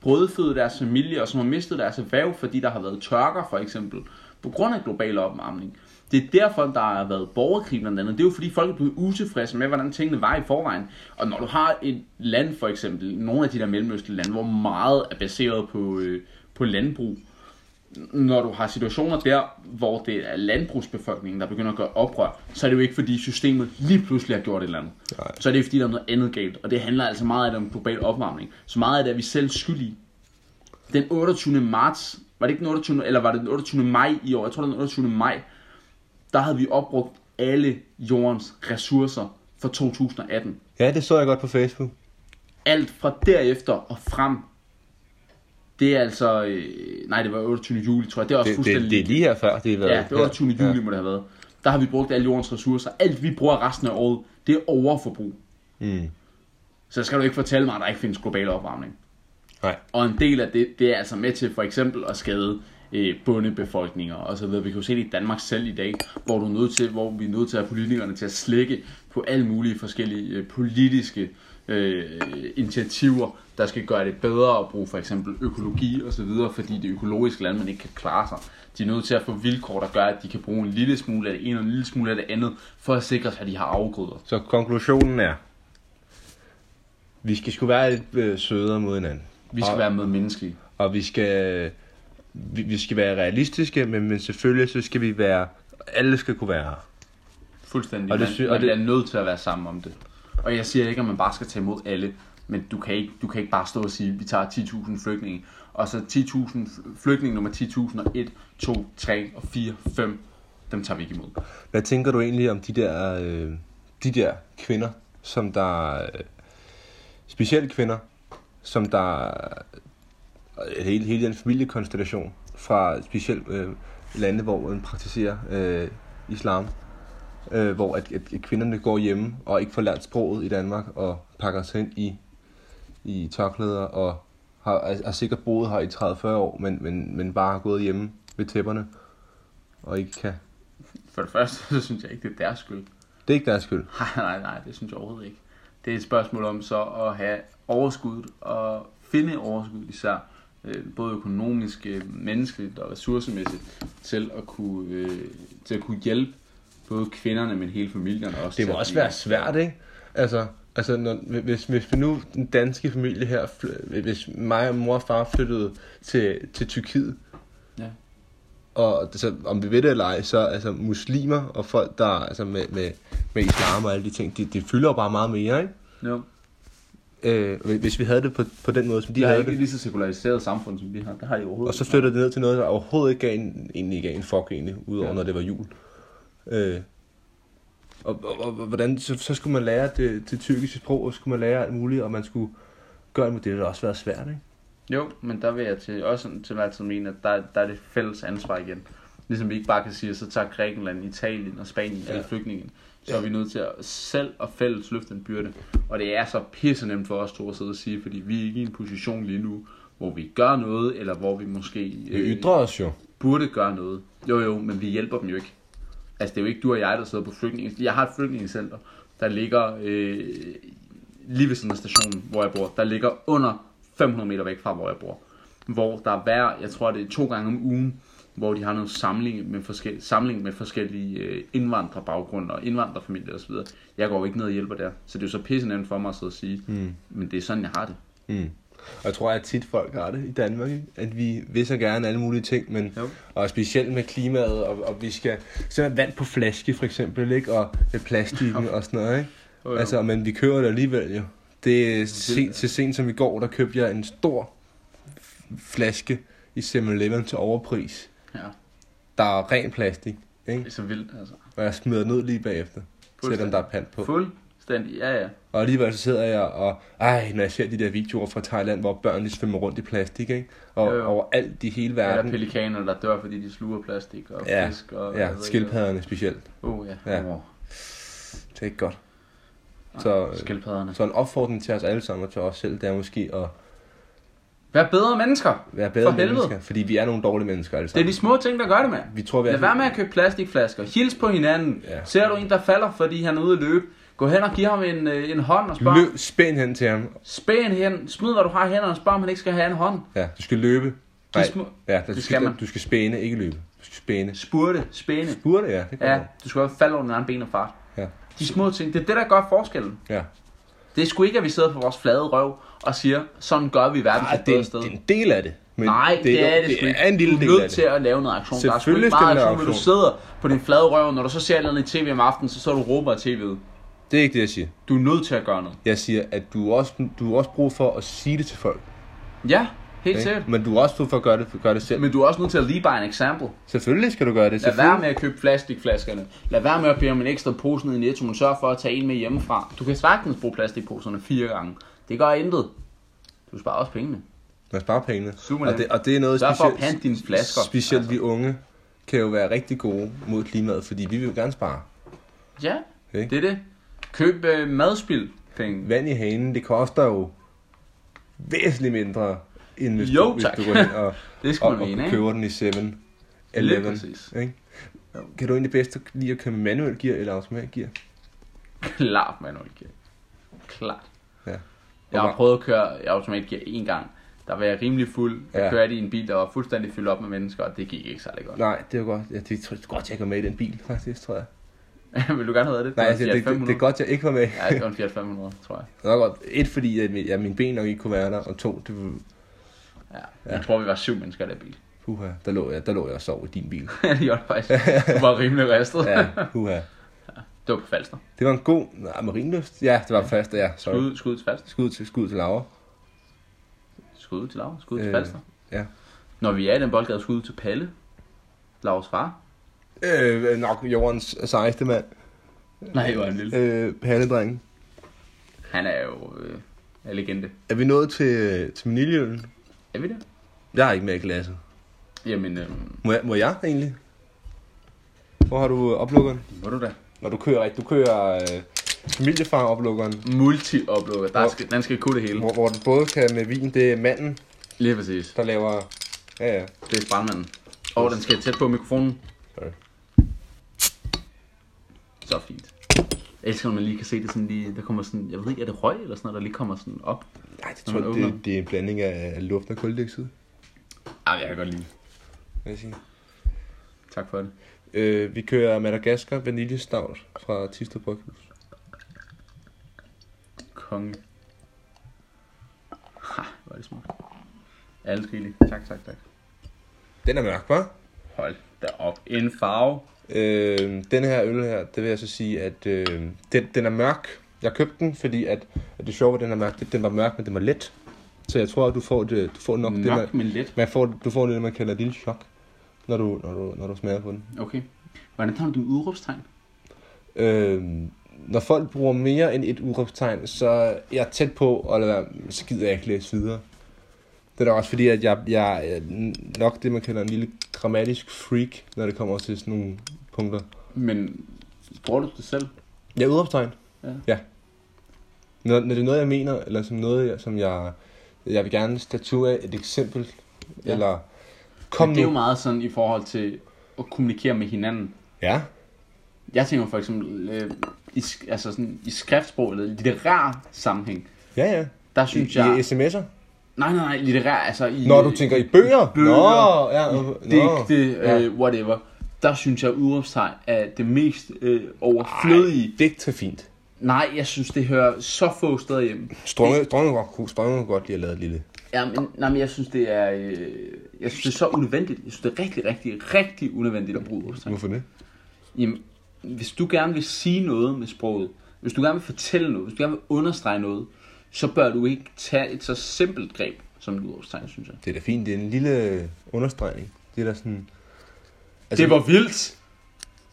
Speaker 1: brødføde deres familie, og som har mistet deres erhverv, fordi der har været tørker for eksempel, på grund af global opvarmning. Det er derfor, der har været borgerkrig blandt andet. Det er jo fordi, folk er blevet utilfredse med, hvordan tingene var i forvejen. Og når du har et land for eksempel, nogle af de der mellemøstlige lande, hvor meget er baseret på, øh, på landbrug, når du har situationer der, hvor det er landbrugsbefolkningen, der begynder at gøre oprør, så er det jo ikke fordi systemet lige pludselig har gjort et eller andet.
Speaker 2: Nej.
Speaker 1: Så er det jo fordi, der er noget andet galt, og det handler altså meget af det om global opvarmning. Så meget af det er vi selv skyldige. Den 28. marts, var det ikke den 28. eller var det den 28. maj i år, jeg tror det var den 28. maj, der havde vi opbrugt alle jordens ressourcer for 2018.
Speaker 2: Ja, det så jeg godt på Facebook.
Speaker 1: Alt fra derefter og frem, det er altså, øh, nej det var 28. juli tror jeg, det er også
Speaker 2: Det,
Speaker 1: fuldstændig
Speaker 2: det, det er lige her før, det er
Speaker 1: Ja, det var 28. juli må det have været. Der har vi brugt alle jordens ressourcer. Alt vi bruger resten af året, det er overforbrug.
Speaker 2: Mm.
Speaker 1: Så skal du ikke fortælle mig, at der ikke findes global opvarmning.
Speaker 2: Nej.
Speaker 1: Og en del af det, det er altså med til for eksempel at skade øh, bundebefolkninger og så videre. Vi kan jo se det i Danmark selv i dag, hvor, du er nødt til, hvor vi er nødt til at have politikerne til at slække på alle mulige forskellige øh, politiske øh, initiativer, der skal gøre det bedre at bruge for eksempel økologi og så videre, fordi det økologiske landmænd ikke kan klare sig. De er nødt til at få vilkår, der gør, at de kan bruge en lille smule af det ene og en lille smule af det andet, for at sikre sig, at de har afgrøder.
Speaker 2: Så konklusionen er, vi skal sgu være lidt øh, sødere mod hinanden.
Speaker 1: Vi skal
Speaker 2: Og-
Speaker 1: være med menneskelige.
Speaker 2: Og vi skal, vi, vi skal være realistiske, men, men selvfølgelig så skal vi være, alle skal kunne være her.
Speaker 1: Fuldstændig.
Speaker 2: Og
Speaker 1: Og
Speaker 2: det
Speaker 1: det,
Speaker 2: sy-
Speaker 1: man,
Speaker 2: og
Speaker 1: man
Speaker 2: det-
Speaker 1: bliver nødt til at være sammen om det. Og jeg siger ikke, at man bare skal tage imod alle, men du kan ikke, du kan ikke bare stå og sige, at vi tager 10.000 flygtninge, og så 10.000 flygtninge nummer 10.001, 2, 3 og 4, 5, dem tager vi ikke imod.
Speaker 2: Hvad tænker du egentlig om de der, øh, de der kvinder, som der, øh, specielle kvinder, som der, øh, hele, hele den familiekonstellation fra specielt øh, lande, hvor man praktiserer øh, islam, øh, hvor at, at, at kvinderne går hjemme og ikke får lært sproget i Danmark og pakker sig ind i, i tørklæder og har, har sikkert boet her i 30-40 år, men, men, men bare har gået hjemme ved tæpperne. og ikke kan.
Speaker 1: For det første, så synes jeg ikke, det er deres skyld.
Speaker 2: Det er ikke deres skyld.
Speaker 1: Nej, nej, nej, det synes jeg overhovedet ikke. Det er et spørgsmål om så at have overskud og finde overskud især, øh, både økonomisk, øh, menneskeligt og ressourcemæssigt, til at kunne, øh, til at kunne hjælpe både kvinderne, men hele familierne også.
Speaker 2: Det
Speaker 1: til
Speaker 2: må
Speaker 1: at
Speaker 2: også
Speaker 1: blive-
Speaker 2: være svært, ikke? Altså, altså når, hvis, hvis vi nu, den danske familie her, fly- hvis mig og mor og far flyttede til, til Tyrkiet,
Speaker 1: Ja.
Speaker 2: og det, så, om vi ved det eller ej, så altså, muslimer og folk, der altså, med, med, med islam og alle de ting, det, det fylder jo bare meget mere, ikke?
Speaker 1: Jo,
Speaker 2: Øh, hvis- hvis vi havde det på, på den måde, som de
Speaker 1: de har
Speaker 2: havde
Speaker 1: ikke
Speaker 2: det.
Speaker 1: et lige så sekulariseret samfund, som vi har. Det har de overhovedet
Speaker 2: Og så
Speaker 1: ikke.
Speaker 2: flyttede det ned til noget, der overhovedet ikke gav en, egentlig ikke gav en fuck egentlig, udover
Speaker 1: Ja.
Speaker 2: ja. når det var jul. Øh, og, og, og, og hvordan, så, så skulle man lære det, det tyrkiske sprog, og så skulle man lære alt muligt, og man skulle gøre det, men det har også været svært, ikke?
Speaker 1: Jo, men der vil jeg til, også til hver tid mene, at der, der er det fælles ansvar igen. Ligesom vi ikke bare kan sige, at så tager Grækenland, Italien og Spanien ja. alle flygtninge. Så er vi nødt til at selv og fælles løfte en byrde. Og det er så pisse nemt for os to at sidde og sige, fordi vi er ikke i en position lige nu, hvor vi gør noget, eller hvor vi måske
Speaker 2: Vi ytrer os jo.
Speaker 1: burde gøre noget. Jo jo, men vi hjælper dem jo ikke. Altså det er jo ikke du og jeg, der sidder på flygtninge. Jeg har et flygtningecenter, der ligger øh, lige ved siden af stationen, hvor jeg bor. Der ligger under 500 meter væk fra, hvor jeg bor. Hvor der er hver, jeg tror det er to gange om ugen, hvor de har noget samling med, forskel, samling med forskellige øh, indvandrerbaggrunde og indvandrerfamilier osv. Jeg går jo ikke ned og hjælper der. Så det er jo så pisse nemt for mig at sidde og sige, mm. men det er sådan, jeg har det.
Speaker 2: Mm. Og jeg tror, at tit folk har det i Danmark, ikke? at vi vil så gerne alle mulige ting, men
Speaker 1: Jo.
Speaker 2: og specielt med klimaet, og, og vi skal så vand på flaske for eksempel, ikke? og med plastikken og sådan noget. Ikke?
Speaker 1: Jo, jo.
Speaker 2: Altså, men vi kører det alligevel jo. Det er
Speaker 1: det-
Speaker 2: sent, til sent som i går, der købte jeg en stor f- flaske i 7-Eleven til overpris,
Speaker 1: Ja,
Speaker 2: der er ren plastik,
Speaker 1: det
Speaker 2: ikke?
Speaker 1: er så vildt altså.
Speaker 2: og jeg smider den ned lige bagefter, selvom
Speaker 1: Fuldstændig.
Speaker 2: der er pant på.
Speaker 1: Fuldstændig, ja ja.
Speaker 2: Og alligevel så sidder jeg og, ej, når jeg ser de der videoer fra Thailand, hvor børn de svømmer rundt i plastik, ikke? Og
Speaker 1: Jo,
Speaker 2: jo,
Speaker 1: jo.
Speaker 2: jo. overalt i hele
Speaker 1: Eller
Speaker 2: verden.
Speaker 1: pelikaner, der dør, fordi de sluger plastik og
Speaker 2: Ja,
Speaker 1: fisk. Og, jeg ved
Speaker 2: Ja,
Speaker 1: ikke
Speaker 2: skildpadderne specielt.
Speaker 1: hvad. Oh, ja.
Speaker 2: Ja.
Speaker 1: Oh,
Speaker 2: Det er ikke godt. Så, øh,
Speaker 1: skildpadderne.
Speaker 2: så en opfordring til os alle sammen og til os selv, det er måske at
Speaker 1: Vær bedre mennesker.
Speaker 2: være
Speaker 1: For
Speaker 2: bedre
Speaker 1: helvede.
Speaker 2: mennesker. Fordi vi er nogle dårlige mennesker alle
Speaker 1: Det er
Speaker 2: sammen.
Speaker 1: de små ting, der gør det, mand.
Speaker 2: Vi tror, vi er...
Speaker 1: Lad være med at købe plastikflasker. Hils på hinanden.
Speaker 2: Ja.
Speaker 1: Ser du en, der falder, fordi han er ude at løbe, gå hen og giv ham en, øh, en hånd og spørg.
Speaker 2: Løb, spænd hen til ham.
Speaker 1: Spæn hen. Smid, hvad du har i hænderne og spørg, om han ikke skal have en hånd.
Speaker 2: Ja, du skal løbe. Nej,
Speaker 1: små-
Speaker 2: ja, du
Speaker 1: skal
Speaker 2: skal,
Speaker 1: man.
Speaker 2: du skal spæne, ikke løbe. Du skal spæne.
Speaker 1: Spurte. Spæne.
Speaker 2: Burde ja, det
Speaker 1: Ja,
Speaker 2: kommer.
Speaker 1: du skal også falde over den anden ben og fart.
Speaker 2: Ja.
Speaker 1: De små ting. Det er det, der gør forskellen.
Speaker 2: ja.
Speaker 1: Det er sgu ikke, at vi sidder på vores flade røv og siger, sådan gør vi verden til
Speaker 2: Ah,
Speaker 1: et
Speaker 2: det,
Speaker 1: bedre
Speaker 2: er,
Speaker 1: sted.
Speaker 2: det er en del af det. Men
Speaker 1: Nej, det, det er det, sgu
Speaker 2: det
Speaker 1: ikke.
Speaker 2: er en lille
Speaker 1: du er
Speaker 2: del af
Speaker 1: nødt
Speaker 2: det.
Speaker 1: til at lave noget aktion. Der er sgu
Speaker 2: Selvfølgelig
Speaker 1: ikke
Speaker 2: skal
Speaker 1: meget
Speaker 2: man lave
Speaker 1: aktion, men du
Speaker 2: aktion.
Speaker 1: sidder på din flade røv, når du så ser et eller andet i tv om aftenen, så så du råber af tv'et.
Speaker 2: Det er ikke det, jeg siger.
Speaker 1: Du er nødt til at gøre noget.
Speaker 2: Jeg siger, at du også, du har også brug for at sige det til folk.
Speaker 1: Ja, helt
Speaker 2: ikke?
Speaker 1: sikkert.
Speaker 2: Men du har også brug for at gøre det, gøre det selv. Men,
Speaker 1: Men du er også nødt til at lige by an example.
Speaker 2: Selvfølgelig skal du gøre det.
Speaker 1: Lad være
Speaker 2: Selvfølgelig.
Speaker 1: med at købe plastikflaskerne. Lad være med at bede om en ekstra pose ned i Netto, men sørg for at tage en med hjemmefra. Du kan sagtens bruge plastikposerne fire gange. Det gør intet. Du sparer også pengene.
Speaker 2: Man sparer pengene.
Speaker 1: Super
Speaker 2: og,
Speaker 1: nemt.
Speaker 2: det, og det er noget
Speaker 1: Sørg for at
Speaker 2: specielt.
Speaker 1: pante dine flasker.
Speaker 2: Specielt altså. vi unge kan jo være rigtig gode mod klimaet, fordi vi vil jo gerne spare.
Speaker 1: Ja,
Speaker 2: Ikke?
Speaker 1: det er det. Køb øh, madspild penge.
Speaker 2: Vand i hanen, det koster jo væsentligt mindre, end hvis,
Speaker 1: Jo,
Speaker 2: du, hvis
Speaker 1: tak.
Speaker 2: du går hen og,
Speaker 1: Det skal
Speaker 2: og,
Speaker 1: man
Speaker 2: og
Speaker 1: mene, ikke?
Speaker 2: køber den i 7
Speaker 1: Lige
Speaker 2: Eleven.
Speaker 1: præcis.
Speaker 2: Ikke? Kan du egentlig bedst lide at købe med manuel gear eller automat gear?
Speaker 1: Klart, Manuel Gear. Klart.
Speaker 2: Ja.
Speaker 1: Jeg har
Speaker 2: Hvor-
Speaker 1: prøvet at køre i automatgear en gang. Der var jeg rimelig fuld. Jeg
Speaker 2: Ja.
Speaker 1: kørte i en bil, der var fuldstændig fyldt op med mennesker, og det gik ikke særlig godt.
Speaker 2: Nej, det er jo godt. Ja, det tror jeg godt, jeg går med i den bil, faktisk, tror jeg.
Speaker 1: Vil du gerne have det?
Speaker 2: Nej,
Speaker 1: var
Speaker 2: altså,
Speaker 1: en
Speaker 2: det,
Speaker 1: Fiat
Speaker 2: det, det,
Speaker 1: 500.
Speaker 2: er godt, jeg ikke var med.
Speaker 1: Ja, det var en Fiat 500, tror jeg.
Speaker 2: Det var godt. Et, fordi at min, ja, mine ben nok ikke kunne være der, og to, det var,
Speaker 1: Ja. Jeg tror, vi var syv mennesker i den bil.
Speaker 2: puha, der lå jeg, der lå jeg og sov i din bil.
Speaker 1: det gjorde det faktisk. Du var rimelig ristet. Ja.
Speaker 2: Ja, puha.
Speaker 1: det var på Falster.
Speaker 2: Det var en god, nej, marinlyst. Ja, det var fast, ja, sorry.
Speaker 1: Skud, skud til Falster.
Speaker 2: Skud til, skud til Laura.
Speaker 1: Skud til Laura. Skud til
Speaker 2: Øh,
Speaker 1: Falster.
Speaker 2: ja.
Speaker 1: Når vi er i den boldgade, skud til Palle. Lauras far.
Speaker 2: Øh, nok jordens sejeste mand.
Speaker 1: Nej, hvor er han lille.
Speaker 2: Øh, Palledrengen.
Speaker 1: Han er jo øh, en legende.
Speaker 2: Er vi nået til, til minilønnen?
Speaker 1: Er vi det?
Speaker 2: Jeg er ikke med i klasse.
Speaker 1: Jamen, øh,
Speaker 2: Må jeg, må jeg egentlig? Hvor har du øh, oplukkeren?
Speaker 1: må du da.
Speaker 2: Når du kører, ikke? Du kører øh, familiefar-oplukkeren.
Speaker 1: multi-oplukker. Der
Speaker 2: Hvor-
Speaker 1: skal, den skal kunne det hele.
Speaker 2: Hvor, hvor du både kan med vin, det er manden,
Speaker 1: Lige præcis.
Speaker 2: der laver... Ja, ja.
Speaker 1: Det er brandmanden. Og den skal tæt på mikrofonen.
Speaker 2: Sorry.
Speaker 1: Så fint. Jeg elsker, når man lige kan se det sådan lige, der kommer sådan, jeg ved ikke, er det røg eller sådan noget, der lige kommer sådan op?
Speaker 2: Nej, det
Speaker 1: Når man
Speaker 2: tror jeg,
Speaker 1: åbner.
Speaker 2: det, det er en blanding af af luft og koldioxid.
Speaker 1: Ej, jeg kan godt lide det.
Speaker 2: vil Jeg sige.
Speaker 1: Tak for det.
Speaker 2: Øh, vi kører Madagaskar vaniljestavl fra Tisted Bryghus.
Speaker 1: Konge. Ha, hvor er det smart. Alle skrigelige. Tak, tak, tak.
Speaker 2: Den er mørk, hva'?
Speaker 1: Hold da op. En farve.
Speaker 2: Øh, den her øl her, det vil jeg så sige, at øh, den, den er mørk. Jeg købte den, fordi at, at det sjove ved den er mørk, det, den var mørk, men den var let. Så jeg tror, at du får, det, du får nok det, man,
Speaker 1: Nok, men let.
Speaker 2: man får, du får det, man kalder et lille chok, når du, når du, når du smager på den.
Speaker 1: Okay. Hvordan tager du din udråbstegn?
Speaker 2: Øh, når folk bruger mere end et udråbstegn, så er jeg tæt på at lade være, så gider jeg ikke læse videre. Det er da også fordi, at jeg, jeg er nok det, man kalder en lille grammatisk freak, når det kommer til sådan nogle punkter.
Speaker 1: Men bruger du det selv?
Speaker 2: Ja, udopstegn.
Speaker 1: Ja.
Speaker 2: ja. Når, når det er noget, jeg mener, eller som noget, jeg, som jeg, jeg vil gerne statue af et eksempel,
Speaker 1: Ja.
Speaker 2: ja. eller
Speaker 1: Kom
Speaker 2: kom
Speaker 1: men det er
Speaker 2: nu.
Speaker 1: jo meget sådan i forhold til at kommunikere med hinanden.
Speaker 2: Ja,
Speaker 1: Jeg tænker for eksempel øh, i, sk- altså sådan, i skriftsprog eller litterær sammenhæng.
Speaker 2: ja, ja.
Speaker 1: Der
Speaker 2: I,
Speaker 1: synes jeg...
Speaker 2: I sms'er?
Speaker 1: Nej, nej, nej, litterær, altså i...
Speaker 2: Når du tænker i bøger?
Speaker 1: bøger,
Speaker 2: Nå, ja, nå.
Speaker 1: digte,
Speaker 2: Ja.
Speaker 1: øh, whatever. Der synes jeg, at udråbstegn er det mest øh, overflødige. Ej.
Speaker 2: Digt er fint.
Speaker 1: Nej, jeg synes, det hører så få steder hjemme.
Speaker 2: Strømme, strømme, godt, kunne- strømme kunne godt lige at lave et lille.
Speaker 1: Ja, men, nej, men jeg synes, det er, øh, jeg synes, det er så unødvendigt. Jeg synes, det er rigtig, rigtig, rigtig unødvendigt at bruge udråbstegn.
Speaker 2: Hvorfor det?
Speaker 1: Jamen, hvis du gerne vil sige noget med sproget, hvis du gerne vil fortælle noget, hvis du gerne vil understrege noget, så bør du ikke tage et så simpelt greb som et udråbstegn, synes jeg.
Speaker 2: Det er da fint, det er en lille øh, understregning. Det er da sådan...
Speaker 1: Altså, det var vildt!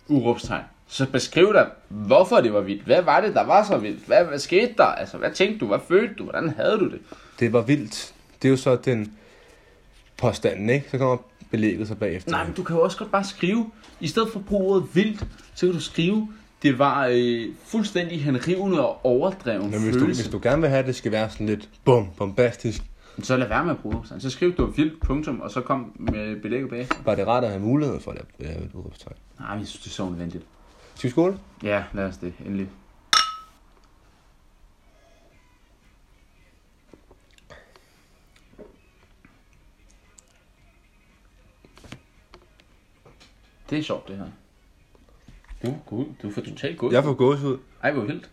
Speaker 1: Udråbstegn. Så beskriv dig, hvorfor det var vildt. Hvad var det, der var så vildt? Hvad, hvad skete der? Altså, hvad tænkte du? Hvad følte du? Hvordan havde du det?
Speaker 2: det var vildt. Det er jo så den påstanden, ikke? Så kommer belægget så bagefter.
Speaker 1: Nej, men du kan jo også godt bare skrive. I stedet for at bruge ordet vildt, så kan du skrive, det var øh, fuldstændig henrivende og overdreven
Speaker 2: Men hvis
Speaker 1: følelse.
Speaker 2: du, hvis du gerne vil have, at det skal være sådan lidt bum, bombastisk,
Speaker 1: Men Så lad være med at bruge udråbstegn. Så skriv, du var vildt, punktum, og så kom med belægget bag.
Speaker 2: var det rart at have mulighed for at lave et udråbstegn.
Speaker 1: Nej, men jeg synes, det er så unødvendigt.
Speaker 2: Skal vi skåle?
Speaker 1: Ja, lad os det, endelig. Det er sjovt, det her. Du er god. Du er for totalt god.
Speaker 2: Jeg får gåsehud.
Speaker 1: Ej, hvor vildt.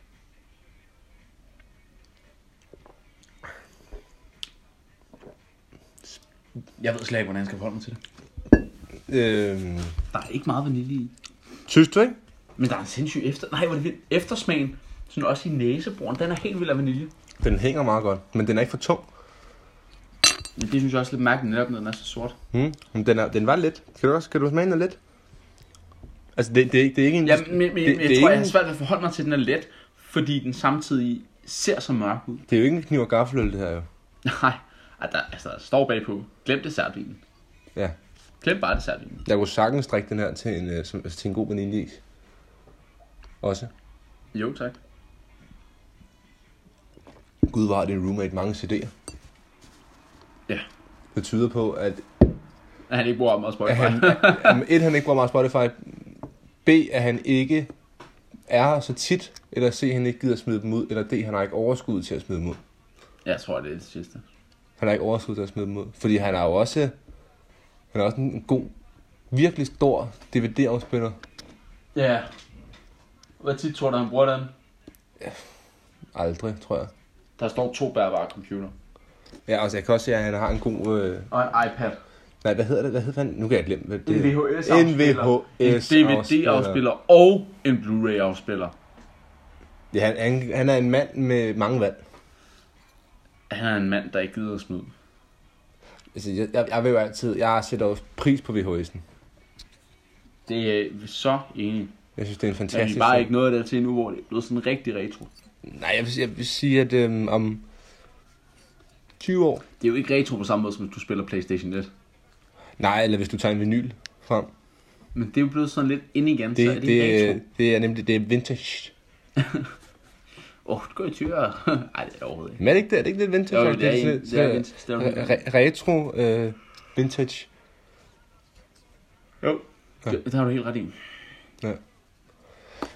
Speaker 1: Jeg ved slet ikke, hvordan jeg skal forholde mig til det.
Speaker 2: Øhm,
Speaker 1: Der er ikke meget vanilje i.
Speaker 2: synes du ikke?
Speaker 1: Men der er en sindssyg efter... Nej, hvor er det vildt. Eftersmagen, sådan også i næseboren, den er helt vild af vanilje.
Speaker 2: Den hænger meget godt, men den er ikke for tung.
Speaker 1: Men det synes jeg også er lidt mærkeligt, netop når den er så sort.
Speaker 2: Hmm? Men den, er, den var lidt. Kan du, også, kan du smage den er lidt? Altså, det, det, er ikke- det er ikke en...
Speaker 1: Ja, men, men
Speaker 2: det,
Speaker 1: jeg
Speaker 2: det, er
Speaker 1: tror, jeg
Speaker 2: ikke,
Speaker 1: har svært ved at forholde mig til, at den er let, fordi den samtidig ser så mørk ud.
Speaker 2: det er jo ikke en kniv og gaffeløl, det her jo.
Speaker 1: Nej, Ej, der, altså, der står bagpå. Glem dessertvinen.
Speaker 2: Ja.
Speaker 1: Glem bare dessertvinen.
Speaker 2: Jeg kunne sagtens drikke den her til en, øh, som, altså, til en god vaniljeis. Også.
Speaker 1: Jo, tak.
Speaker 2: Gud var din roommate mange CD'er.
Speaker 1: Ja.
Speaker 2: Det tyder på, at
Speaker 1: At han ikke bruger meget Spotify.
Speaker 2: at han, at- et, han ikke bruger meget Spotify. B, at han ikke er her så tit. Eller C, han ikke gider smide dem ud. Eller D, han har ikke overskud til at smide dem ud.
Speaker 1: Jeg tror, det er det sidste.
Speaker 2: Han har ikke overskud til at smide dem ud. Fordi han er jo også, han er også en god, virkelig stor DVD-afspiller.
Speaker 1: Ja. Hvor tit tror du, han bruger den?
Speaker 2: Aldrig, tror jeg.
Speaker 1: Der står to bærbare computer.
Speaker 2: Ja, altså jeg kan også se, at han har en god... Øh...
Speaker 1: Og en iPad.
Speaker 2: Nej, hvad hedder det? Hvad hedder han? Nu kan jeg glemme, hvad det
Speaker 1: En
Speaker 2: er.
Speaker 1: VHS-afspiller.
Speaker 2: En VHS
Speaker 1: en DVD-afspiller og en Blu-ray-afspiller.
Speaker 2: Ja, han, han, han er en mand med mange valg.
Speaker 1: Han er en mand, der ikke gider at smide.
Speaker 2: Altså, jeg, jeg, jeg vil jo altid... Jeg sætter jo pris på VHS'en.
Speaker 1: Det er vi så enig.
Speaker 2: Jeg synes, det er en
Speaker 1: Men vi
Speaker 2: fantastisk...
Speaker 1: er bare ikke noget der til nu, hvor det er blevet sådan rigtig retro.
Speaker 2: Nej, jeg vil, jeg vil sige, at øhm, om 20 år...
Speaker 1: Det er jo ikke retro på samme måde, som hvis du spiller Playstation 1.
Speaker 2: Nej, eller hvis du tager en vinyl frem.
Speaker 1: Men det er jo blevet sådan lidt ind igen, det, så er
Speaker 2: Det,
Speaker 1: det, det retro.
Speaker 2: det, det er nemlig det er vintage.
Speaker 1: Åh, oh, det går i tyre. Ej, det er det overhovedet ikke.
Speaker 2: Men er det ikke det? Er det ikke lidt vintage?
Speaker 1: Jo, det er en- det er
Speaker 2: så-
Speaker 1: vintage, det er
Speaker 2: re- re- retro øh, vintage.
Speaker 1: Jo. Ja. Det, det har du helt ret i.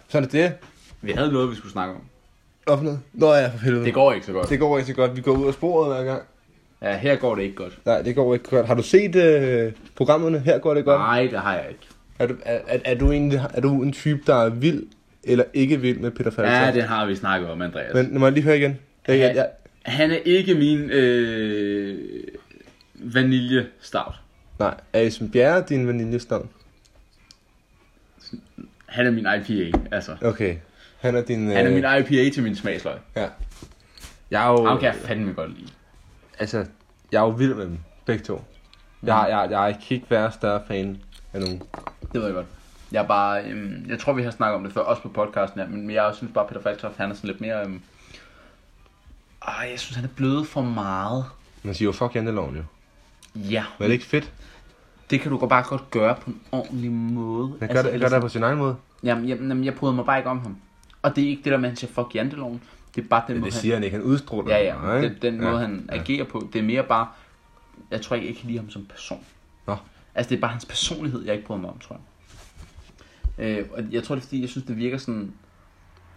Speaker 2: Sådan er det.
Speaker 1: Vi havde noget, vi skulle snakke om.
Speaker 2: Hvad for noget? Nå ja, for helvede.
Speaker 1: Det går ikke så godt.
Speaker 2: det går ikke så godt. Vi går ud af sporet hver gang.
Speaker 1: Ja, her går det ikke godt.
Speaker 2: Nej, det går ikke godt. Har du set øh, programmerne? Her går det godt.
Speaker 1: Nej, det har jeg ikke.
Speaker 2: Er du, er, er, er, du en, er du en type, der er vild eller ikke vild med Peter Falk?
Speaker 1: Ja, det har vi snakket om, Andreas.
Speaker 2: Men nu må jeg lige høre igen. Jeg, jeg, jeg,
Speaker 1: Han er ikke min øh, vaniljestavt.
Speaker 2: nej, er Esben Bjerre din vaniljestavn?
Speaker 1: Han er min IPA, altså.
Speaker 2: Okay. Han er din... Øh,
Speaker 1: Han er min Ah, IPA til min smagsløg.
Speaker 2: Ja. Jeg er jo...
Speaker 1: Ham kan jeg fandme godt lide.
Speaker 2: Altså, jeg er jo vild med dem. Begge to. Jeg,
Speaker 1: Mm.
Speaker 2: jeg, jeg kan ikke være større fan af nogen.
Speaker 1: Det ved jeg godt. Jeg er bare, øhm, jeg tror vi har snakket om det før, også på podcasten her, men men jeg synes bare, Peter Falktoft, han er sådan lidt mere, øhm, ah, jeg synes, han er blødet for meget.
Speaker 2: Man siger jo fuck janteloven jo.
Speaker 1: Ja,
Speaker 2: Men er det ikke fedt?
Speaker 1: det kan du godt- bare godt gøre på en ordentlig måde.
Speaker 2: Han gør, det, han gør det
Speaker 1: ellers-
Speaker 2: på sin egen måde.
Speaker 1: jamen, jamen, jamen, jeg bryder mig bare ikke om ham. Og det er ikke det der med, at han siger, fuck janteloven. Det er bare den måde,
Speaker 2: Det siger han ikke. Han udstråler
Speaker 1: han, ja, ja,
Speaker 2: ikke?
Speaker 1: det, den
Speaker 2: ja.
Speaker 1: måde, han agerer på. Det er mere bare, jeg tror ikke, jeg kan lide ham som person.
Speaker 2: Nå.
Speaker 1: Altså, det er bare hans personlighed, jeg ikke bryder mig om, tror jeg. Øh, og jeg tror, det er fordi, jeg synes, det virker sådan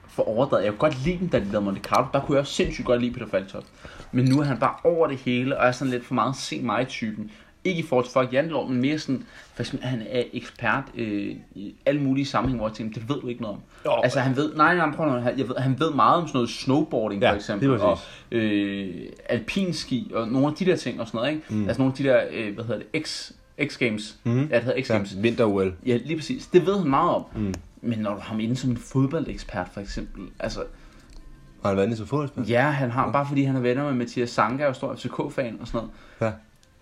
Speaker 1: for overdrevet. Jeg kunne godt lide den, da de lavede Monte Carlo. Der kunne jeg også sindssygt godt lide Peter Faltoft. Men nu er han bare over det hele, og er sådan lidt for meget se mig-typen. Ikke i forhold til folk i andet år, men mere sådan, for eksempel, han er ekspert øh, i alle mulige sammenhænge, hvor jeg tænker, det ved du ikke noget om.
Speaker 2: Jo.
Speaker 1: altså, han ved, nej, nej, prøv nu, han, jeg ved, han ved meget om sådan noget snowboarding,
Speaker 2: Ja,
Speaker 1: for eksempel,
Speaker 2: lige
Speaker 1: og
Speaker 2: præcis.
Speaker 1: øh, alpinski, og nogle af de der ting og sådan noget, ikke? Mm. Altså nogle af de der, øh, hvad hedder det, X, X Games, mm. ja, det hedder X Games.
Speaker 2: Ja, vinter-OL.
Speaker 1: Ja, lige præcis. Det ved han meget om. Mm. Men når du har ham inde som en fodboldekspert, for eksempel, altså,
Speaker 2: Har han været inde som fodboldspiller?
Speaker 1: ja, han har, bare fordi han er venner med Mathias Sanka og stor FCK-fan og sådan noget,
Speaker 2: Ja.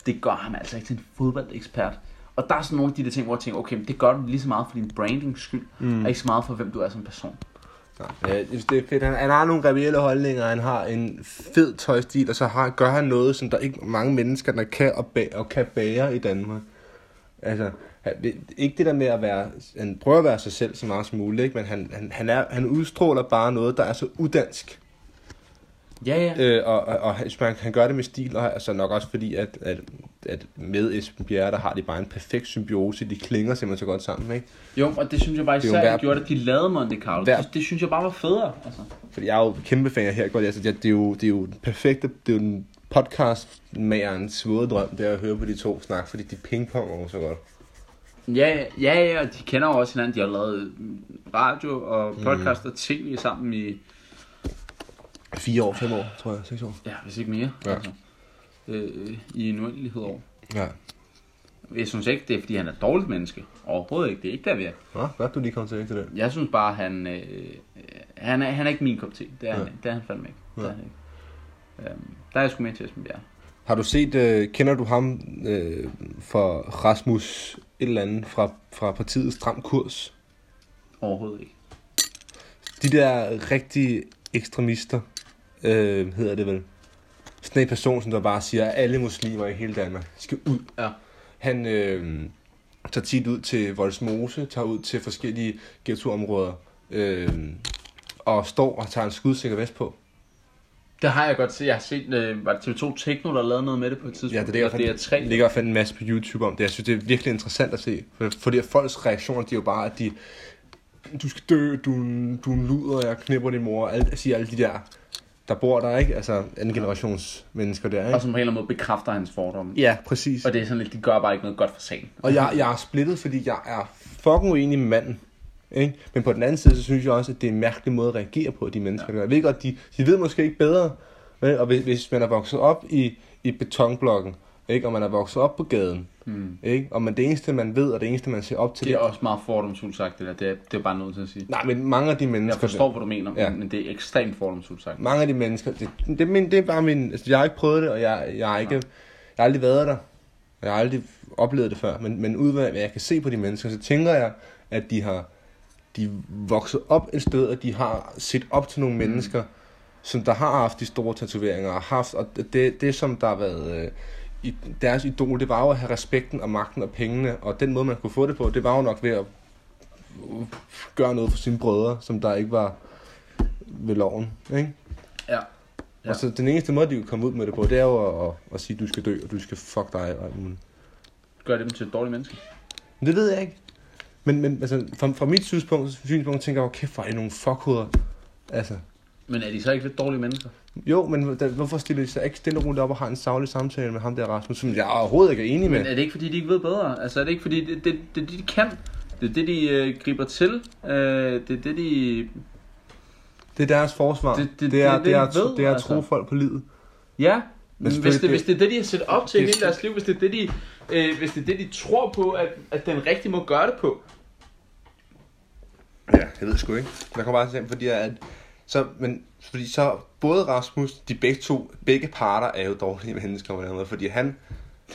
Speaker 1: det gør ham altså ikke til en fodboldekspert. Og der er sådan nogle af de der ting, hvor jeg tænker, okay, men det gør du lige så meget for din brandings skyld, mm. og ikke så meget for, hvem du er som person.
Speaker 2: Ja, jeg synes, det er fedt. Han, han har nogle reelle holdninger, han har en fed tøjstil, og så har, gør han noget, som der ikke er mange mennesker, der kan og, bæ- og kan bære i Danmark. Altså, han, det- ikke det der med at være, han prøver at være sig selv så meget som muligt, ikke? men han, han, han, er, han udstråler bare noget, der er så udansk.
Speaker 1: Ja, ja.
Speaker 2: Øh, og, og, og han, han- han gør det med stil, og altså nok også fordi, at, at, at med Esben Bjerre, der har de bare en perfekt symbiose, de klinger simpelthen så godt sammen, ikke?
Speaker 1: Jo, og det synes jeg bare
Speaker 2: er jo
Speaker 1: især,
Speaker 2: hver-
Speaker 1: at de gjorde, at de lavede Monte Carlo.
Speaker 2: Hver-
Speaker 1: Det, det synes jeg bare var federe. Altså.
Speaker 2: Fordi jeg er jo kæmpe fan af her, godt? Altså, jeg- det, er jo, det er jo den perfekte, det er jo den podcast magerens våde drøm, det er at høre på de to snakke, fordi de pingponger jo så godt.
Speaker 1: Ja, ja, ja, og de kender jo også hinanden. De har lavet radio og
Speaker 2: Mhm.
Speaker 1: podcast og tv sammen i,
Speaker 2: Fire år, fem år, tror jeg, seks år.
Speaker 1: ja, hvis ikke mere,
Speaker 2: Ja.
Speaker 1: altså, øh, i en uendelighed over.
Speaker 2: Ja.
Speaker 1: Jeg synes ikke, det er, fordi han er et dårligt menneske. Overhovedet ikke. Det er ikke der, vi er.
Speaker 2: Nå, godt du lige kom til til det.
Speaker 1: Jeg synes bare, han, øh, øh, han, er, han er ikke min kop te. Det er, ja. han, ikke. det er han fandme ikke. Det er
Speaker 2: Ja.
Speaker 1: han ikke. Øhm, der er jeg sgu mere til Esben Bjerg.
Speaker 2: Har du set, øh, kender du ham øh, for Rasmus et eller andet fra, fra partiet Stram Kurs?
Speaker 1: Overhovedet ikke.
Speaker 2: De der rigtige ekstremister, øh, hedder det vel. Sådan en person, som der bare siger, at alle muslimer i hele Danmark skal ud.
Speaker 1: Ja.
Speaker 2: Han øh, tager tit ud til Voldsmose, tager ud til forskellige ghettoområder, øh, og står og tager en skudsikker vest på.
Speaker 1: Det har jeg godt set. Jeg har set, øh, var det TV2 Tekno, der lavede noget med det på et tidspunkt?
Speaker 2: Ja, det ligger,
Speaker 1: det er
Speaker 2: fandt, det ligger fandt en masse på YouTube om det. Jeg synes, det er virkelig interessant at se. For- Fordi at folks reaktioner, de er jo bare, at de... Du skal dø, du, er en- du er en luder, jeg knipper din mor. Alt, siger alle de der, der bor der, ikke? Altså anden generations mennesker der,
Speaker 1: Og som
Speaker 2: ikke?
Speaker 1: på en eller anden måde bekræfter hans fordomme.
Speaker 2: Ja, præcis.
Speaker 1: Og det er sådan lidt, de gør bare ikke noget godt for sagen.
Speaker 2: Og jeg, jeg er splittet, fordi jeg er fucking uenig med manden. Ikke? Men på den anden side, så synes jeg også, at det er en mærkelig måde at reagere på, de mennesker. Ja. Jeg ved godt, de, de ved måske ikke bedre. Vel? Og hvis, hvis man er vokset op i, i betonblokken, ikke? og man er vokset op på gaden, mm. ikke? og man, det eneste, man ved, og det eneste, man ser op til,
Speaker 1: Det er også meget fordomsfuldt sagt, det der. Det er, det er bare nødt til at sige.
Speaker 2: Nej, men mange af de
Speaker 1: Jeg
Speaker 2: mennesker...
Speaker 1: forstår, hvad du mener,
Speaker 2: Ja.
Speaker 1: ja. men det er ekstremt fordomsfuldt sagt.
Speaker 2: Mange af de mennesker... Det, det, er min, det er bare min... Altså, jeg har ikke prøvet det, og jeg, jeg, har ikke, jeg har aldrig været der. og Jeg har aldrig oplevet det før. Men, men ud af, hvad jeg kan se på de mennesker, så tænker jeg, at de har de er vokset op et sted, og de har set op til nogle mennesker, som der har haft de store tatoveringer, og haft, og det, det som der har været øh, i deres idol, det var jo at have respekten og magten og pengene, og den måde, man kunne få det på, det var jo nok ved at øh, gøre noget for sine brødre, som der ikke var ved loven, ikke?
Speaker 1: Ja.
Speaker 2: Ja. Og så den eneste måde, de kan komme ud med det på, det er jo at, at, at sige, du skal dø, og du skal fuck dig. Og alt muligt.
Speaker 1: Gør det dem til et dårligt menneske.
Speaker 2: Men det ved jeg ikke. Men, men altså, fra, fra mit synspunkt, synspunkt tænker jeg, okay, kæft, hvor er I nogle fuckhoveder. Altså,
Speaker 1: Men er de så ikke lidt dårlige mennesker?
Speaker 2: jo, men da, hvorfor stiller de sig ikke stille og roligt op og har en saglig samtale med ham der Rasmus, som jeg overhovedet ikke er enig
Speaker 1: Men
Speaker 2: med?
Speaker 1: er det ikke fordi, de ikke ved bedre? Altså er det ikke fordi, det er det, det, er det, de kan? Det er det, de øh, griber til. Øh, det er det, de...
Speaker 2: Det er deres forsvar.
Speaker 1: Det- det-
Speaker 2: Det, det, det, er,
Speaker 1: det
Speaker 2: det,
Speaker 1: er
Speaker 2: det, er,
Speaker 1: det, vi ved,
Speaker 2: at- det er at
Speaker 1: altså.
Speaker 2: tro folk på livet.
Speaker 1: Ja,
Speaker 2: Men
Speaker 1: men hvis,
Speaker 2: selvfølgelig,
Speaker 1: det,
Speaker 2: det-
Speaker 1: hvis det er det, de har set op til i
Speaker 2: det-
Speaker 1: hele deres liv, hvis det er det, de, øh, hvis det, er det, de tror på, at, at den rigtige må gøre det på.
Speaker 2: Ja, jeg ved sgu ikke. Jeg kommer bare til at fordi at... Så, men, fordi så både Rasmus, de begge to, begge parter er jo dårlige mennesker på den her måde, fordi han,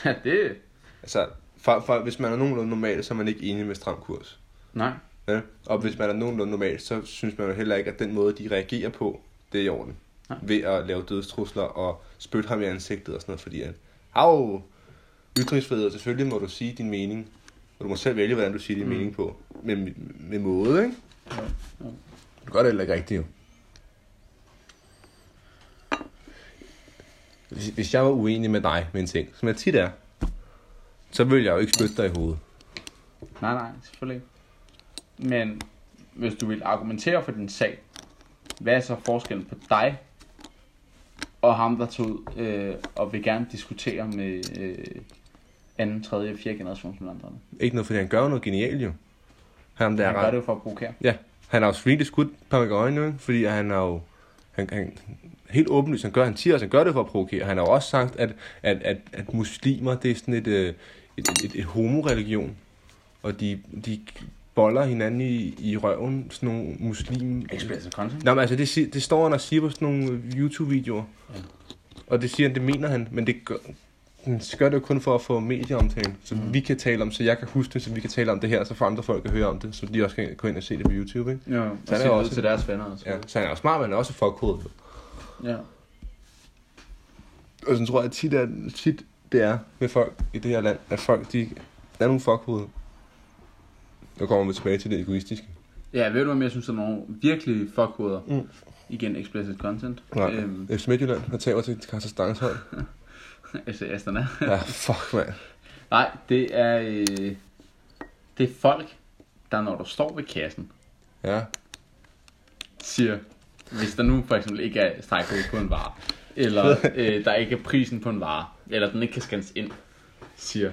Speaker 1: Ja, det...
Speaker 2: altså, for, for, hvis man er nogenlunde normal, så er man ikke enig med stram kurs.
Speaker 1: Nej.
Speaker 2: Ja? Og hvis man er nogenlunde normal, så synes man jo heller ikke, at den måde, de reagerer på, det er i orden.
Speaker 1: Nej.
Speaker 2: Ved at lave dødstrusler og spytte ham i ansigtet og sådan noget, fordi at, au, ytringsfrihed, selvfølgelig må du sige din mening, og du må selv vælge, hvordan du siger din mm. mening på, med, med måde, ikke?
Speaker 1: ja.
Speaker 2: Du gør det heller ikke rigtigt, jo. Hvis, hvis jeg var uenig med dig med en ting, som jeg tit er, så ville jeg jo ikke spytte dig i hovedet.
Speaker 1: Nej, nej, selvfølgelig ikke. Men hvis du vil argumentere for din sag, hvad er så forskellen på dig og ham, der tog ud øh, og vil gerne diskutere med øh, anden, tredje og fjerde generations indvandrerne?
Speaker 2: Ikke noget, fordi han gør noget genialt, jo. Han, der
Speaker 1: Han gør
Speaker 2: er
Speaker 1: det
Speaker 2: ret,
Speaker 1: jo for at provokere.
Speaker 2: ja, han har jo really skudt et par gange øjne, ikke? fordi han har jo han, han, helt åbenlyst, han gør, han siger, at han gør det for at provokere. Han har jo også sagt, at, at, at, at muslimer, det er sådan et, øh, et, et, et, et homoreligion, og de, de boller hinanden i, i røven, sådan nogle muslim...
Speaker 1: Explicit content.
Speaker 2: Nej, men altså, det, si- det står han og siger på sådan nogle YouTube-videoer. Og det siger han, det mener han, men det gør, han gør det jo kun for at få medieomtale, så vi kan tale om, så jeg kan huske det, så vi kan tale om det her, så for andre folk kan høre om det, så de også kan gå ind og se det på YouTube, ikke?
Speaker 1: Ja, og
Speaker 2: Så er
Speaker 1: så
Speaker 2: der
Speaker 1: det
Speaker 2: jo
Speaker 1: også
Speaker 2: også-
Speaker 1: til deres venner. altså. Og så.
Speaker 2: Ja,
Speaker 1: videre.
Speaker 2: så han er jo smart, men han er også fuckhoved.
Speaker 1: ja.
Speaker 2: Og så tror jeg tit, at tit det er med folk i det her land, at folk, de er nogle fuckhoved. Nu kommer vi tilbage til det egoistiske.
Speaker 1: Ja, ved du, hvad jeg synes, der er nogle virkelig fuckhoveder?
Speaker 2: Mm.
Speaker 1: Igen, explicit content.
Speaker 2: Nej,
Speaker 1: Øhm,
Speaker 2: FC Midtjylland, der taber til Carstens hold.
Speaker 1: FC Astana.
Speaker 2: Ja, fuck, mand.
Speaker 1: altså, Nej, det er, øh, det er folk, der når du står ved kassen,
Speaker 2: Ja,
Speaker 1: siger, hvis der nu for eksempel ikke er stregkode på en vare, eller øh, der ikke er prisen på en vare, eller den ikke kan scannes ind, siger,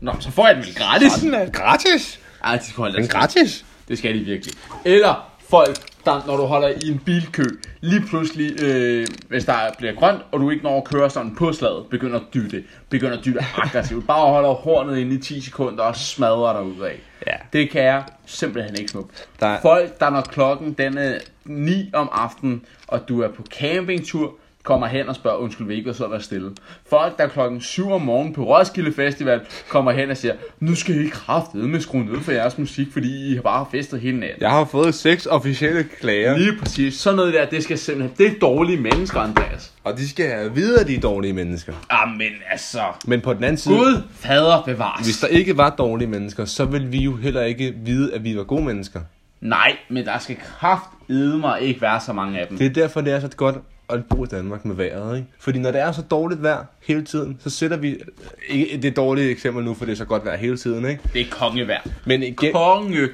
Speaker 1: Nå, så får jeg den vel gratis.
Speaker 2: er gratis.
Speaker 1: Ej, de skal holde
Speaker 2: Den
Speaker 1: deres
Speaker 2: er gratis.
Speaker 1: Det skal de virkelig. Eller folk, der, når du holder i en bilkø, lige pludselig, øh, hvis der bliver grønt, og du ikke når at køre sådan på slaget, begynder at dytte. Begynder at dytte aggressivt. Bare holder hornet inde i 10 sekunder og smadrer dig ud af.
Speaker 2: Ja.
Speaker 1: Det kan jeg simpelthen ikke smukke.
Speaker 2: Der er-
Speaker 1: Folk, der når klokken den er 9 om aftenen, og du er på campingtur, kommer hen og spørger, undskyld, vil I ikke være sød at være stille. Folk, der klokken 7 om morgenen på Roskilde Festival, kommer hen og siger, nu skal I kraftedeme med skrue ned for jeres musik, fordi I bare har festet hele natten.
Speaker 2: Jeg har fået seks officielle klager,
Speaker 1: Lige præcis. Sådan noget der, det skal simpelthen... Det er dårlige mennesker, Andreas.
Speaker 2: og de skal have videre de er dårlige mennesker.
Speaker 1: Jamen altså...
Speaker 2: Men på den anden side,
Speaker 1: Gud fader bevares.
Speaker 2: hvis der ikke var dårlige mennesker, så ville vi jo heller ikke vide, at vi var gode mennesker.
Speaker 1: Nej, men der skal kraft mig ikke være så mange af dem.
Speaker 2: Det er derfor, det er så godt at bo i Danmark med vejret, ikke? Fordi når det er så dårligt vejr hele tiden, så sætter vi... øh, Ikke, det er et dårligt eksempel nu, for det er så godt vejr hele tiden, ikke?
Speaker 1: Det er kongevær.
Speaker 2: Men igen...
Speaker 1: Konge.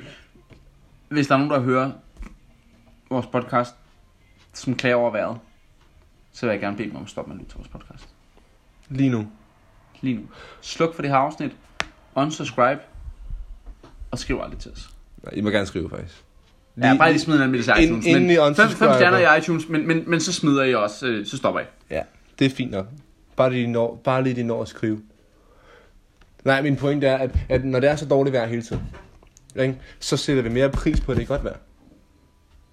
Speaker 1: Hvis der er nogen, der hører vores podcast, som klager over vejret, så vil jeg gerne bede dem om at stoppe med at lytte til vores podcast.
Speaker 2: Lige nu.
Speaker 1: Lige nu. Sluk for det her afsnit. Unsubscribe. Og skriv aldrig til os.
Speaker 2: Nej, I må gerne skrive, faktisk.
Speaker 1: Ja, bare lige smid en anmeldelse i
Speaker 2: Ind-
Speaker 1: iTunes.
Speaker 2: endelig
Speaker 1: Men fem, fem
Speaker 2: unsubscribe.
Speaker 1: stjerner i iTunes, men, men, men så smider I også, øh, så stopper I.
Speaker 2: Ja, det er fint nok. Bare lige de når, bare lige de når at skrive. Nej, min pointe er, at, at når det er så dårligt vejr hele tiden, ikke, så sætter vi mere pris på, at det er godt vejr.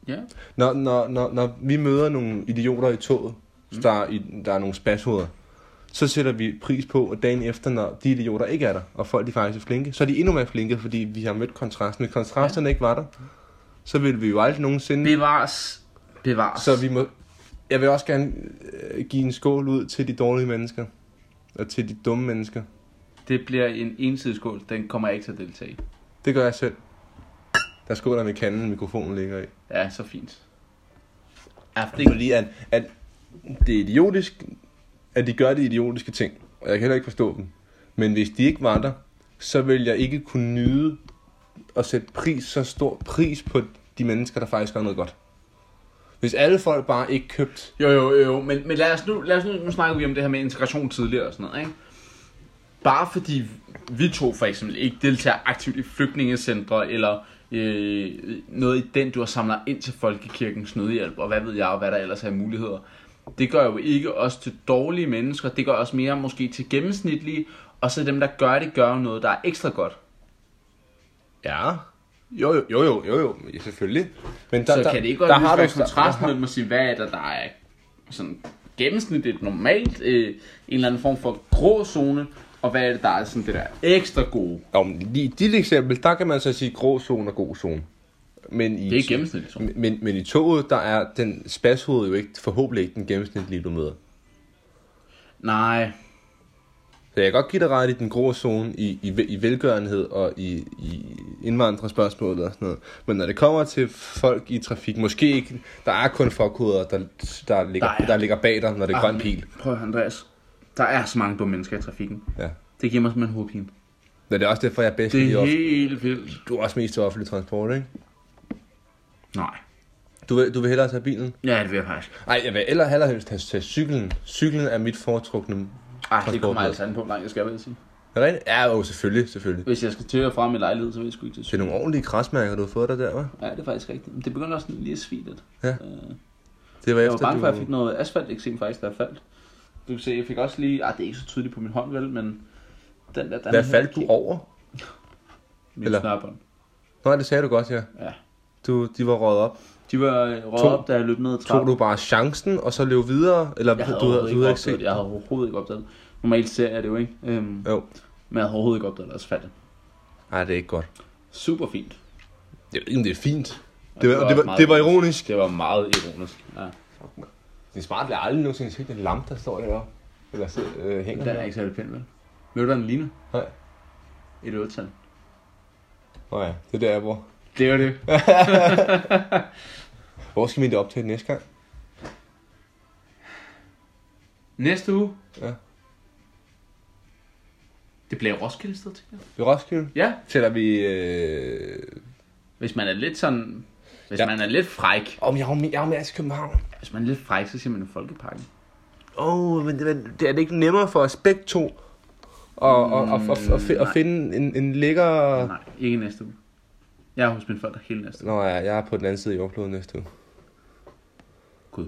Speaker 1: Ja.
Speaker 2: Når, når, når, når vi møder nogle idioter i toget, mm. der, er i, der er nogle spashoveder, så sætter vi pris på, at dagen efter, når de idioter ikke er der, og folk de faktisk er flinke, så er de endnu mere flinke, fordi vi har mødt kontrasten. Hvis kontrasterne ikke var der, så ville vi jo aldrig nogensinde...
Speaker 1: Bevares. Bevares.
Speaker 2: Så vi må... Jeg vil også gerne øh, give en skål ud til de dårlige mennesker. Og til de dumme mennesker.
Speaker 1: Det bliver en ensidig skål. Den kommer jeg ikke til at deltage i.
Speaker 2: Det gør jeg selv. Der skåler med kanden, mikrofonen ligger i.
Speaker 1: Ja, så fint. Ja,
Speaker 2: Det er fordi, at, at det er idiotisk, at de gør de idiotiske ting. Og jeg kan heller ikke forstå dem. Men hvis de ikke var der, så vil jeg ikke kunne nyde at sætte pris, så stor pris på de mennesker, der faktisk gør noget godt. Hvis alle folk bare ikke købte...
Speaker 1: Jo, jo, jo, men, men lad os nu, lad os nu, nu snakker vi om det her med integration tidligere og sådan noget, ikke? Bare fordi vi to for eksempel ikke deltager aktivt i flygtningecentre eller øh, noget i den, du har samlet ind til Folkekirkens Nødhjælp, og hvad ved jeg, og hvad der ellers er af muligheder. Det gør jo ikke os til dårlige mennesker, det gør os mere måske til gennemsnitlige, og så dem, der gør det, gør jo noget, der er ekstra godt.
Speaker 2: Ja. Jo, jo, jo, jo, jo, jo. Ja, selvfølgelig. Men
Speaker 1: så kan det ikke godt der har du kontrast mellem at sige, hvad er der, der er sådan gennemsnitligt normalt, øh, en eller anden form for grå zone, og hvad er det, der er sådan det der ekstra gode?
Speaker 2: Jo, men lige i dit eksempel, der kan man så sige grå zone og god zone. Men i,
Speaker 1: Det er gennemsnitligt zone.
Speaker 2: men, men i toget, der er den spadshoved jo ikke, forhåbentlig ikke den gennemsnitlige, du møder.
Speaker 1: Nej,
Speaker 2: Så jeg kan godt give dig ret i den grå zone, i, i, i velgørenhed og i, i indvandrerspørgsmålet og sådan noget. Men når det kommer til folk i trafik, måske ikke, der er kun forkoder, der, der, ligger,
Speaker 1: Der er- Ah,
Speaker 2: der, ligger bag dig, når det er grøn
Speaker 1: men
Speaker 2: pil.
Speaker 1: Prøv at høre, Andreas. Der er så mange dumme mennesker i trafikken.
Speaker 2: Ja.
Speaker 1: Det giver mig simpelthen hovedpine.
Speaker 2: Men det er også derfor, jeg er bedst
Speaker 1: Det
Speaker 2: i
Speaker 1: er
Speaker 2: offentlig.
Speaker 1: helt vildt.
Speaker 2: Du er også mest til offentlig transport, ikke?
Speaker 1: Nej.
Speaker 2: Du vil, du vil hellere tage bilen?
Speaker 1: Ja, det vil jeg faktisk.
Speaker 2: Nej, jeg vil ellers hellere helst tage, tage cyklen. Cyklen er mit foretrukne.
Speaker 1: Ej, det kommer
Speaker 2: Transportmiddel.
Speaker 1: altså an på, hvor langt jeg skal, vil jeg sige.
Speaker 2: Er det rigtigt? Ja, jo, selvfølgelig, selvfølgelig.
Speaker 1: Hvis jeg skal til og fra min lejlighed, så vil jeg sgu ikke til
Speaker 2: Det er nogle ordentlige krasmærker, du har fået dig der, hva'?
Speaker 1: Ja, det er faktisk rigtigt. Men det begynder også sådan lige at svige lidt.
Speaker 2: Ja.
Speaker 1: Øh,
Speaker 2: Det var
Speaker 1: jeg var bange
Speaker 2: du-
Speaker 1: for, at jeg fik noget asfalteksem faktisk, der faldt. Du kan se, jeg fik også lige... Ah, det er ikke så tydeligt på min hånd, vel, men... Den der, der
Speaker 2: Hvad faldt du over?
Speaker 1: Min
Speaker 2: eller?
Speaker 1: snørbånd.
Speaker 2: Nej, det sagde du godt, ja.
Speaker 1: Ja.
Speaker 2: Du, de var røget op.
Speaker 1: De var øh,
Speaker 2: Tog-
Speaker 1: røget op, da jeg løb ned ad
Speaker 2: Tog
Speaker 1: trappen.
Speaker 2: du bare chancen, og så løb videre? Eller
Speaker 1: Jeg havde,
Speaker 2: du,
Speaker 1: overhovedet
Speaker 2: du
Speaker 1: ikke
Speaker 2: havde ikke
Speaker 1: opdaget,
Speaker 2: set?
Speaker 1: det. jeg havde overhovedet ikke opdaget. det. Normalt ser jeg det jo, ikke? Øhm,
Speaker 2: Jo.
Speaker 1: Men jeg havde overhovedet ikke opdaget deres fatte.
Speaker 2: Nej, det er ikke godt.
Speaker 1: Super fint.
Speaker 2: Jeg ved ikke, om det er fint.
Speaker 1: Ja, det
Speaker 2: Det
Speaker 1: var
Speaker 2: var, det
Speaker 1: også
Speaker 2: var,
Speaker 1: meget
Speaker 2: det var
Speaker 1: ironisk.
Speaker 2: ironisk.
Speaker 1: Det var meget ironisk. Ja.
Speaker 2: Det er smart, at jeg aldrig nogensinde set en lampe, der står deroppe. Eller så, øh, hænger
Speaker 1: Den er
Speaker 2: der.
Speaker 1: ikke særlig pæn, vel? Ved du, hvad den ligner?
Speaker 2: Nej.
Speaker 1: Et otal.
Speaker 2: Nå ja, det er der, jeg bor.
Speaker 1: Det var det. Ja.
Speaker 2: Hvor skal vi det op til næste gang?
Speaker 1: Næste uge.
Speaker 2: Ja.
Speaker 1: Det bliver Roskilde sted, tænker jeg.
Speaker 2: Ved Roskilde?
Speaker 1: Ja.
Speaker 2: Sætter vi... Øh...
Speaker 1: Hvis man er lidt sådan... Hvis
Speaker 2: Ja.
Speaker 1: ja. man er lidt fræk.
Speaker 2: Om jeg har med, jeg har med til København.
Speaker 1: Hvis man er lidt fræk, så siger man jo Folkeparken.
Speaker 2: Åh, oh, men, men det er det ikke nemmere for os begge to og, mm, og, og, og, og, fi- og
Speaker 1: nej.
Speaker 2: finde en, en lækker...
Speaker 1: Nej, ikke næste uge. Jeg er hos mine forældre hele næste uge.
Speaker 2: Nå ja, jeg er på den anden side af jordkloden næste uge.
Speaker 1: Gud.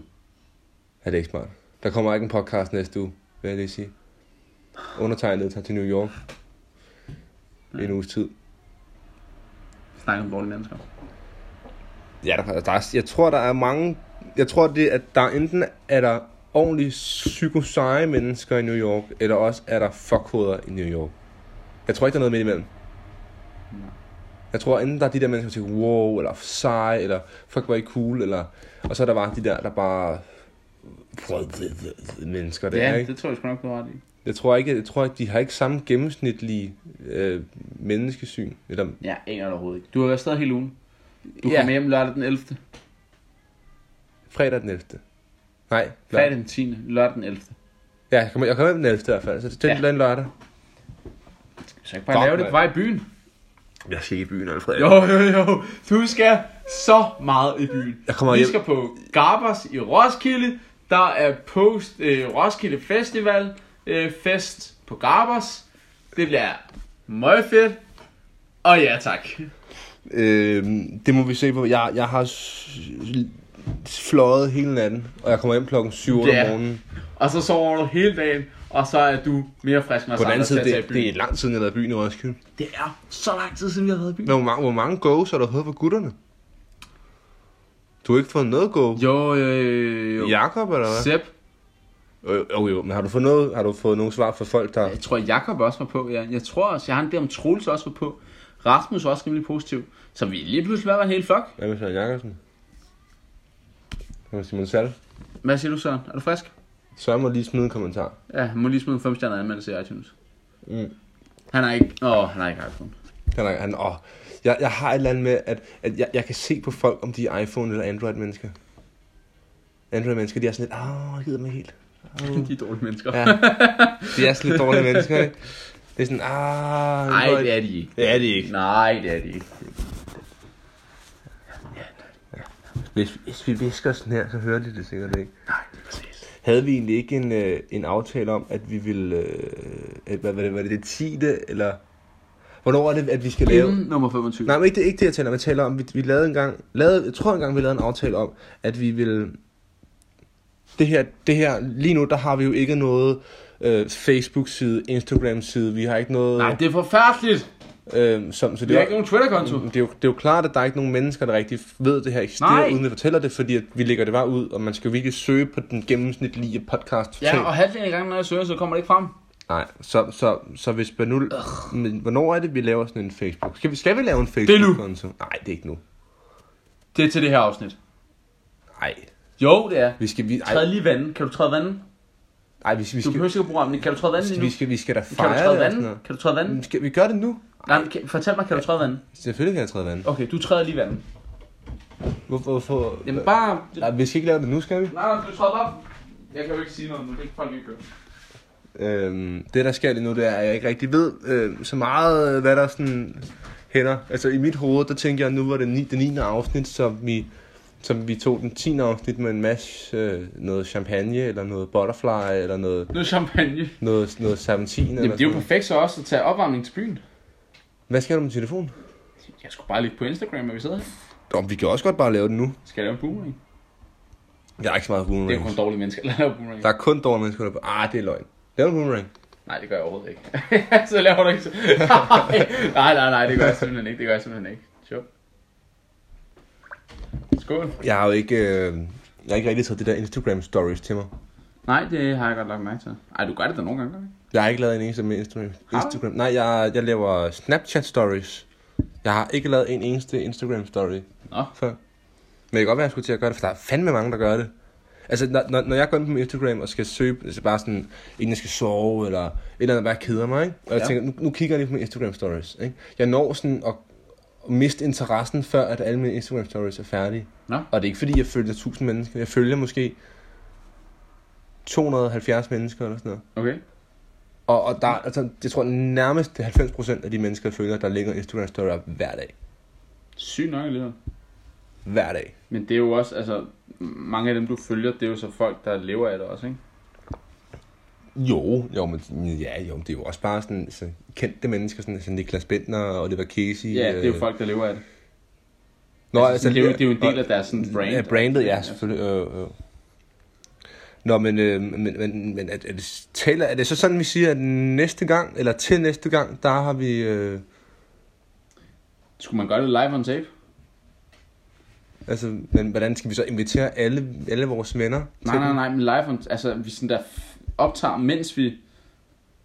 Speaker 2: Ja, det er ikke smart. Der kommer ikke en podcast næste uge, vil jeg lige sige. Undertegnet tager til New York. I en uges tid.
Speaker 1: Snakker om dårlige mennesker.
Speaker 2: Ja, der, der er, jeg tror, der er mange... Jeg tror, det, at der enten er der ordentligt psykoseje mennesker i New York, eller også er der fuckhoveder i New York. Jeg tror ikke, der er noget midt imellem. Jeg tror, enten der er de der mennesker, der tænker, wow, eller sej, eller fuck, hvor er I cool, eller... Og så er der bare de der, der bare... Mennesker der,
Speaker 1: Ja,
Speaker 2: ikke?
Speaker 1: det tror jeg sgu nok, du har ret i.
Speaker 2: Jeg tror ikke, jeg tror ikke, de har ikke samme gennemsnitlige øh, menneskesyn. Eller,
Speaker 1: Ja, aner det overhovedet ikke. Du har været stadig hele ugen. Du
Speaker 2: Ja.
Speaker 1: kommer hjem lørdag den 11.
Speaker 2: fredag den 11. Nej,
Speaker 1: Fredag den 10. Lørdag den 11.
Speaker 2: Ja, jeg kommer, jeg kommer hjem den 11. i hvert fald, så det er
Speaker 1: Ja.
Speaker 2: ja. en lørdag.
Speaker 1: Så jeg kan bare
Speaker 2: Fuck,
Speaker 1: lave det
Speaker 2: mand.
Speaker 1: på vej i byen.
Speaker 2: Jeg skal i byen, Alfred.
Speaker 1: Jo, jo, jo. Du skal så meget i byen.
Speaker 2: Jeg kommer
Speaker 1: Vi
Speaker 2: hjem.
Speaker 1: skal på Garbers i Roskilde. Der er post øh, Roskilde Festival øh, fest på Garbers. Det bliver meget fedt. Og ja, tak.
Speaker 2: Øh, det må vi se på. Jeg, jeg har s- s- fløjet hele natten, og jeg kommer hjem klokken 7
Speaker 1: Det
Speaker 2: om
Speaker 1: er-
Speaker 2: morgenen.
Speaker 1: Og så sover du hele dagen, og så er du mere frisk end os
Speaker 2: På den
Speaker 1: andre
Speaker 2: anden
Speaker 1: til
Speaker 2: side,
Speaker 1: at tage
Speaker 2: det,
Speaker 1: i
Speaker 2: det er
Speaker 1: byen.
Speaker 2: lang tid, siden jeg har været i byen i Roskilde.
Speaker 1: det er så lang tid siden, vi har været i byen.
Speaker 2: Men hvor mange, hvor mange goes har du fået for gutterne? Du har ikke fået noget go?
Speaker 1: Jo, jo, jo, jo.
Speaker 2: Jakob, eller hvad?
Speaker 1: Sepp.
Speaker 2: Jo, jo, jo, men har du fået noget, har du fået nogle svar fra folk, der...
Speaker 1: Jeg tror, Jakob også var på, ja. Jeg tror også, jeg har en idé om Troels også var på. Rasmus var også rimelig positiv. Så vi er lige pludselig var en hel flok.
Speaker 2: Hvad med Søren Jakobsen? Hvad med Simon Sal?
Speaker 1: Hvad siger du, Søren? Er du frisk?
Speaker 2: Søren må lige smide en kommentar.
Speaker 1: Ja, han må lige smide en 5 stjerner anmeldelse i iTunes.
Speaker 2: Mm.
Speaker 1: Han har ikke... Åh, oh, han har ikke iPhone.
Speaker 2: Han, er- han, åh, jeg, jeg har et eller andet med, at, at jeg, jeg kan se på folk, om de er iPhone- eller Android-mennesker. Android-mennesker, de er sådan lidt, åh, jeg gider mig helt.
Speaker 1: De er dårlige mennesker.
Speaker 2: Ja. De er sådan lidt dårlige mennesker, ikke? Det er sådan, ah...
Speaker 1: Nej,
Speaker 2: hvor-
Speaker 1: det er de ikke.
Speaker 2: Det er de ikke.
Speaker 1: Nej, det er de ikke.
Speaker 2: Hvis, hvis vi visker sådan her, så hører de det sikkert ikke.
Speaker 1: Nej, det er præcis.
Speaker 2: Havde vi egentlig ikke en, øh, en aftale om, at vi ville... Øh, at- hvad var det, var det det 10. eller... Hvornår er det, at vi skal lave...
Speaker 1: Inden nummer 25.
Speaker 2: Nej, men ikke det, ikke det jeg taler om. Jeg taler om, vi, vi lavede en gang... Lavede, jeg tror engang, vi lavede en aftale om, at vi ville... Det her, det her, lige nu, der har vi jo ikke noget øh, Facebook-side, Instagram-side. Vi har ikke noget...
Speaker 1: Nej, det er forfærdeligt.
Speaker 2: øh, som, så
Speaker 1: Vi
Speaker 2: det
Speaker 1: har
Speaker 2: var-
Speaker 1: ikke nogen Twitter-konto.
Speaker 2: Mm, Det er, jo, det er jo klart, at der er ikke nogen mennesker, der rigtig ved, at det her eksisterer,
Speaker 1: Nej.
Speaker 2: uden vi fortæller det, fordi at vi lægger det bare ud, og man skal jo virkelig søge på den gennemsnitlige podcast.
Speaker 1: Ja, og halvdelen af gangen, når jeg søger, så kommer det ikke frem.
Speaker 2: Nej, så, så, så hvis man nu... Men hvornår er det, vi laver sådan en Facebook? Skal vi, skal vi lave en
Speaker 1: nu.
Speaker 2: Facebook-konto? Nej, det er ikke nu.
Speaker 1: Det er til det her afsnit.
Speaker 2: Nej,
Speaker 1: Jo, det er.
Speaker 2: vi skal... Vi, ej,
Speaker 1: Træd lige vandet. Kan du træde vandet?
Speaker 2: ej, vi, vi,
Speaker 1: Du
Speaker 2: skal,
Speaker 1: behøver ikke at bruge armen. Kan du træde vandet lige nu?
Speaker 2: vi, skal, vi skal da
Speaker 1: Kan du
Speaker 2: fejre
Speaker 1: træde
Speaker 2: det. og sådan
Speaker 1: vandet?
Speaker 2: noget. Mm.
Speaker 1: Kan du træde
Speaker 2: Men
Speaker 1: vandet?
Speaker 2: Skal vi gøre det nu?
Speaker 1: Nej, men kan, fortæl mig, kan du træde vandet?
Speaker 2: Selvfølgelig kan jeg træde vandet.
Speaker 1: Okay, du træder lige vandet.
Speaker 2: Hvorfor? hvorfor
Speaker 1: Jamen bare...
Speaker 2: Nej, vi skal ikke lave det nu, skal vi?
Speaker 1: Nej, nej, du træder bare... Jeg kan jo ikke sige noget nu, det kan folk ikke gøre.
Speaker 2: Øhm, det der sker lige nu, det er, at jeg ikke rigtig ved øh, så meget, øh, hvad der sådan hænder. Altså i mit hoved, der tænker jeg, at nu var det, ni, det 9. afsnit, som vi, som vi tog den 10. afsnit med en masse øh, noget champagne, eller noget butterfly, eller noget,
Speaker 1: Nu champagne.
Speaker 2: noget, noget serpentin. eller
Speaker 1: Jamen, det er jo
Speaker 2: sådan
Speaker 1: perfekt så også at tage opvarmning til byen.
Speaker 2: noget. Hvad skal du med telefon?
Speaker 1: Jeg skulle bare ligge på Instagram, og vi sidder her.
Speaker 2: Nå, vi kan også godt bare lave det nu.
Speaker 1: Skal jeg lave en boomerang?
Speaker 2: Jeg er ikke så meget
Speaker 1: Det er jo kun
Speaker 2: boomerang.
Speaker 1: dårlige mennesker, der laver boomerang.
Speaker 2: Der er kun dårlige mennesker, der... Ah, det er løgn. Lav en boomerang.
Speaker 1: Nej, det gør jeg overhovedet ikke. så laver du ikke så. nej, nej, nej, det gør jeg simpelthen ikke. Det gør jeg simpelthen ikke. Sjov. Skål.
Speaker 2: Jeg har jo ikke... Øh, jeg har ikke rigtig taget det der Instagram stories til mig.
Speaker 1: Nej, det har jeg godt lagt mærke til. Ej, du gør det da nogle gange, gør du ikke?
Speaker 2: Jeg har ikke lavet en eneste med Instagram.
Speaker 1: du?
Speaker 2: Instagram. Nej, jeg, jeg laver Snapchat stories. Jeg har ikke lavet en eneste Instagram story
Speaker 1: Nå.
Speaker 2: før. Men jeg kan godt være, at jeg skulle til at gøre det, for der er fandme mange, der gør det. Altså, når, når, når jeg går ind på min Instagram og skal søge, altså bare sådan, inden jeg skal sove, eller et eller andet, bare keder mig, ikke? Og jeg
Speaker 1: Ja.
Speaker 2: ja. tænker, nu, nu kigger jeg lige på mine Instagram stories, ikke? Jeg når sådan at at miste interessen, før at alle mine Instagram stories er færdige.
Speaker 1: Nå.
Speaker 2: Og det er ikke fordi, jeg følger 1000 mennesker. Jeg følger måske 270 mennesker eller sådan noget.
Speaker 1: Okay.
Speaker 2: Og, og der, altså, jeg tror nærmest 90% af de mennesker, jeg følger, der lægger Instagram story op hver dag.
Speaker 1: Sygt nok alligevel.
Speaker 2: Hver dag.
Speaker 1: Men det er jo også, altså, mange af dem, du følger, det er jo så folk, der lever af det også, ikke?
Speaker 2: Jo, jo, men ja, jo, men det er jo også bare sådan, så kendte mennesker, sådan, sådan Niklas Bentner og Oliver Casey. øh,
Speaker 1: Ja, det er jo folk, der lever af det.
Speaker 2: Nå,
Speaker 1: altså, sådan, det er jo- det er jo en del af deres sådan brand. Altså,
Speaker 2: Ja, brandet, ja, selvfølgelig. Øh, øh. Nå, men, øh, men, men, men er, er, det, taler, er det så sådan, vi siger, at næste gang, eller til næste gang, der har vi... Øh,
Speaker 1: Skulle man gøre det live on tape?
Speaker 2: altså, men hvordan skal vi så invitere alle, alle vores venner?
Speaker 1: Nej,
Speaker 2: til
Speaker 1: nej,
Speaker 2: den?
Speaker 1: nej, men live on Altså, vi sådan der f- optager, mens vi...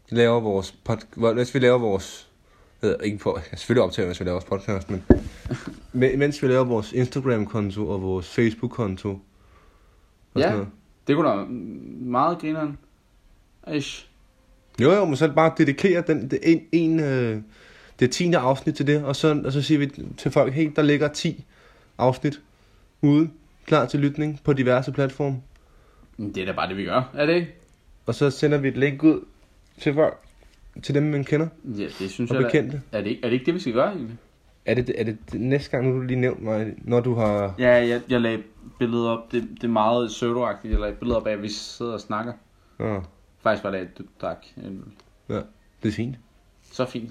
Speaker 2: laver vores podcast, mens vi laver vores, jeg ved, ikke på, jeg selvfølgelig optager, mens vi laver vores podcast, men men- mens vi laver vores Instagram-konto og vores Facebook-konto. og sådan
Speaker 1: Ja,
Speaker 2: noget.
Speaker 1: det kunne da være meget grineren. Ish.
Speaker 2: Jo, jo, men så bare dedikere den, det, en, en, øh, det tiende afsnit til det, og så, og så siger vi til folk, hey, der ligger 10 afsnit ude, klar til lytning på diverse platforme.
Speaker 1: Men det er da bare det, vi gør, er det ikke?
Speaker 2: Og så sender vi et link ud til folk, til dem, man kender.
Speaker 1: Ja, det synes
Speaker 2: Og
Speaker 1: jeg da-
Speaker 2: bekendte.
Speaker 1: Er det, ikke, er det ikke det, vi skal gøre egentlig?
Speaker 2: Er det, er det, det næste gang, nu har du lige nævnt mig, når du har...
Speaker 1: Ja, jeg, jeg lagde billeder op. Det, det er meget pseudo Jeg lagde billeder op af, at vi sidder og snakker.
Speaker 2: Ja.
Speaker 1: Faktisk var det, at du drak en øl.
Speaker 2: Ja, det er fint.
Speaker 1: Så fint.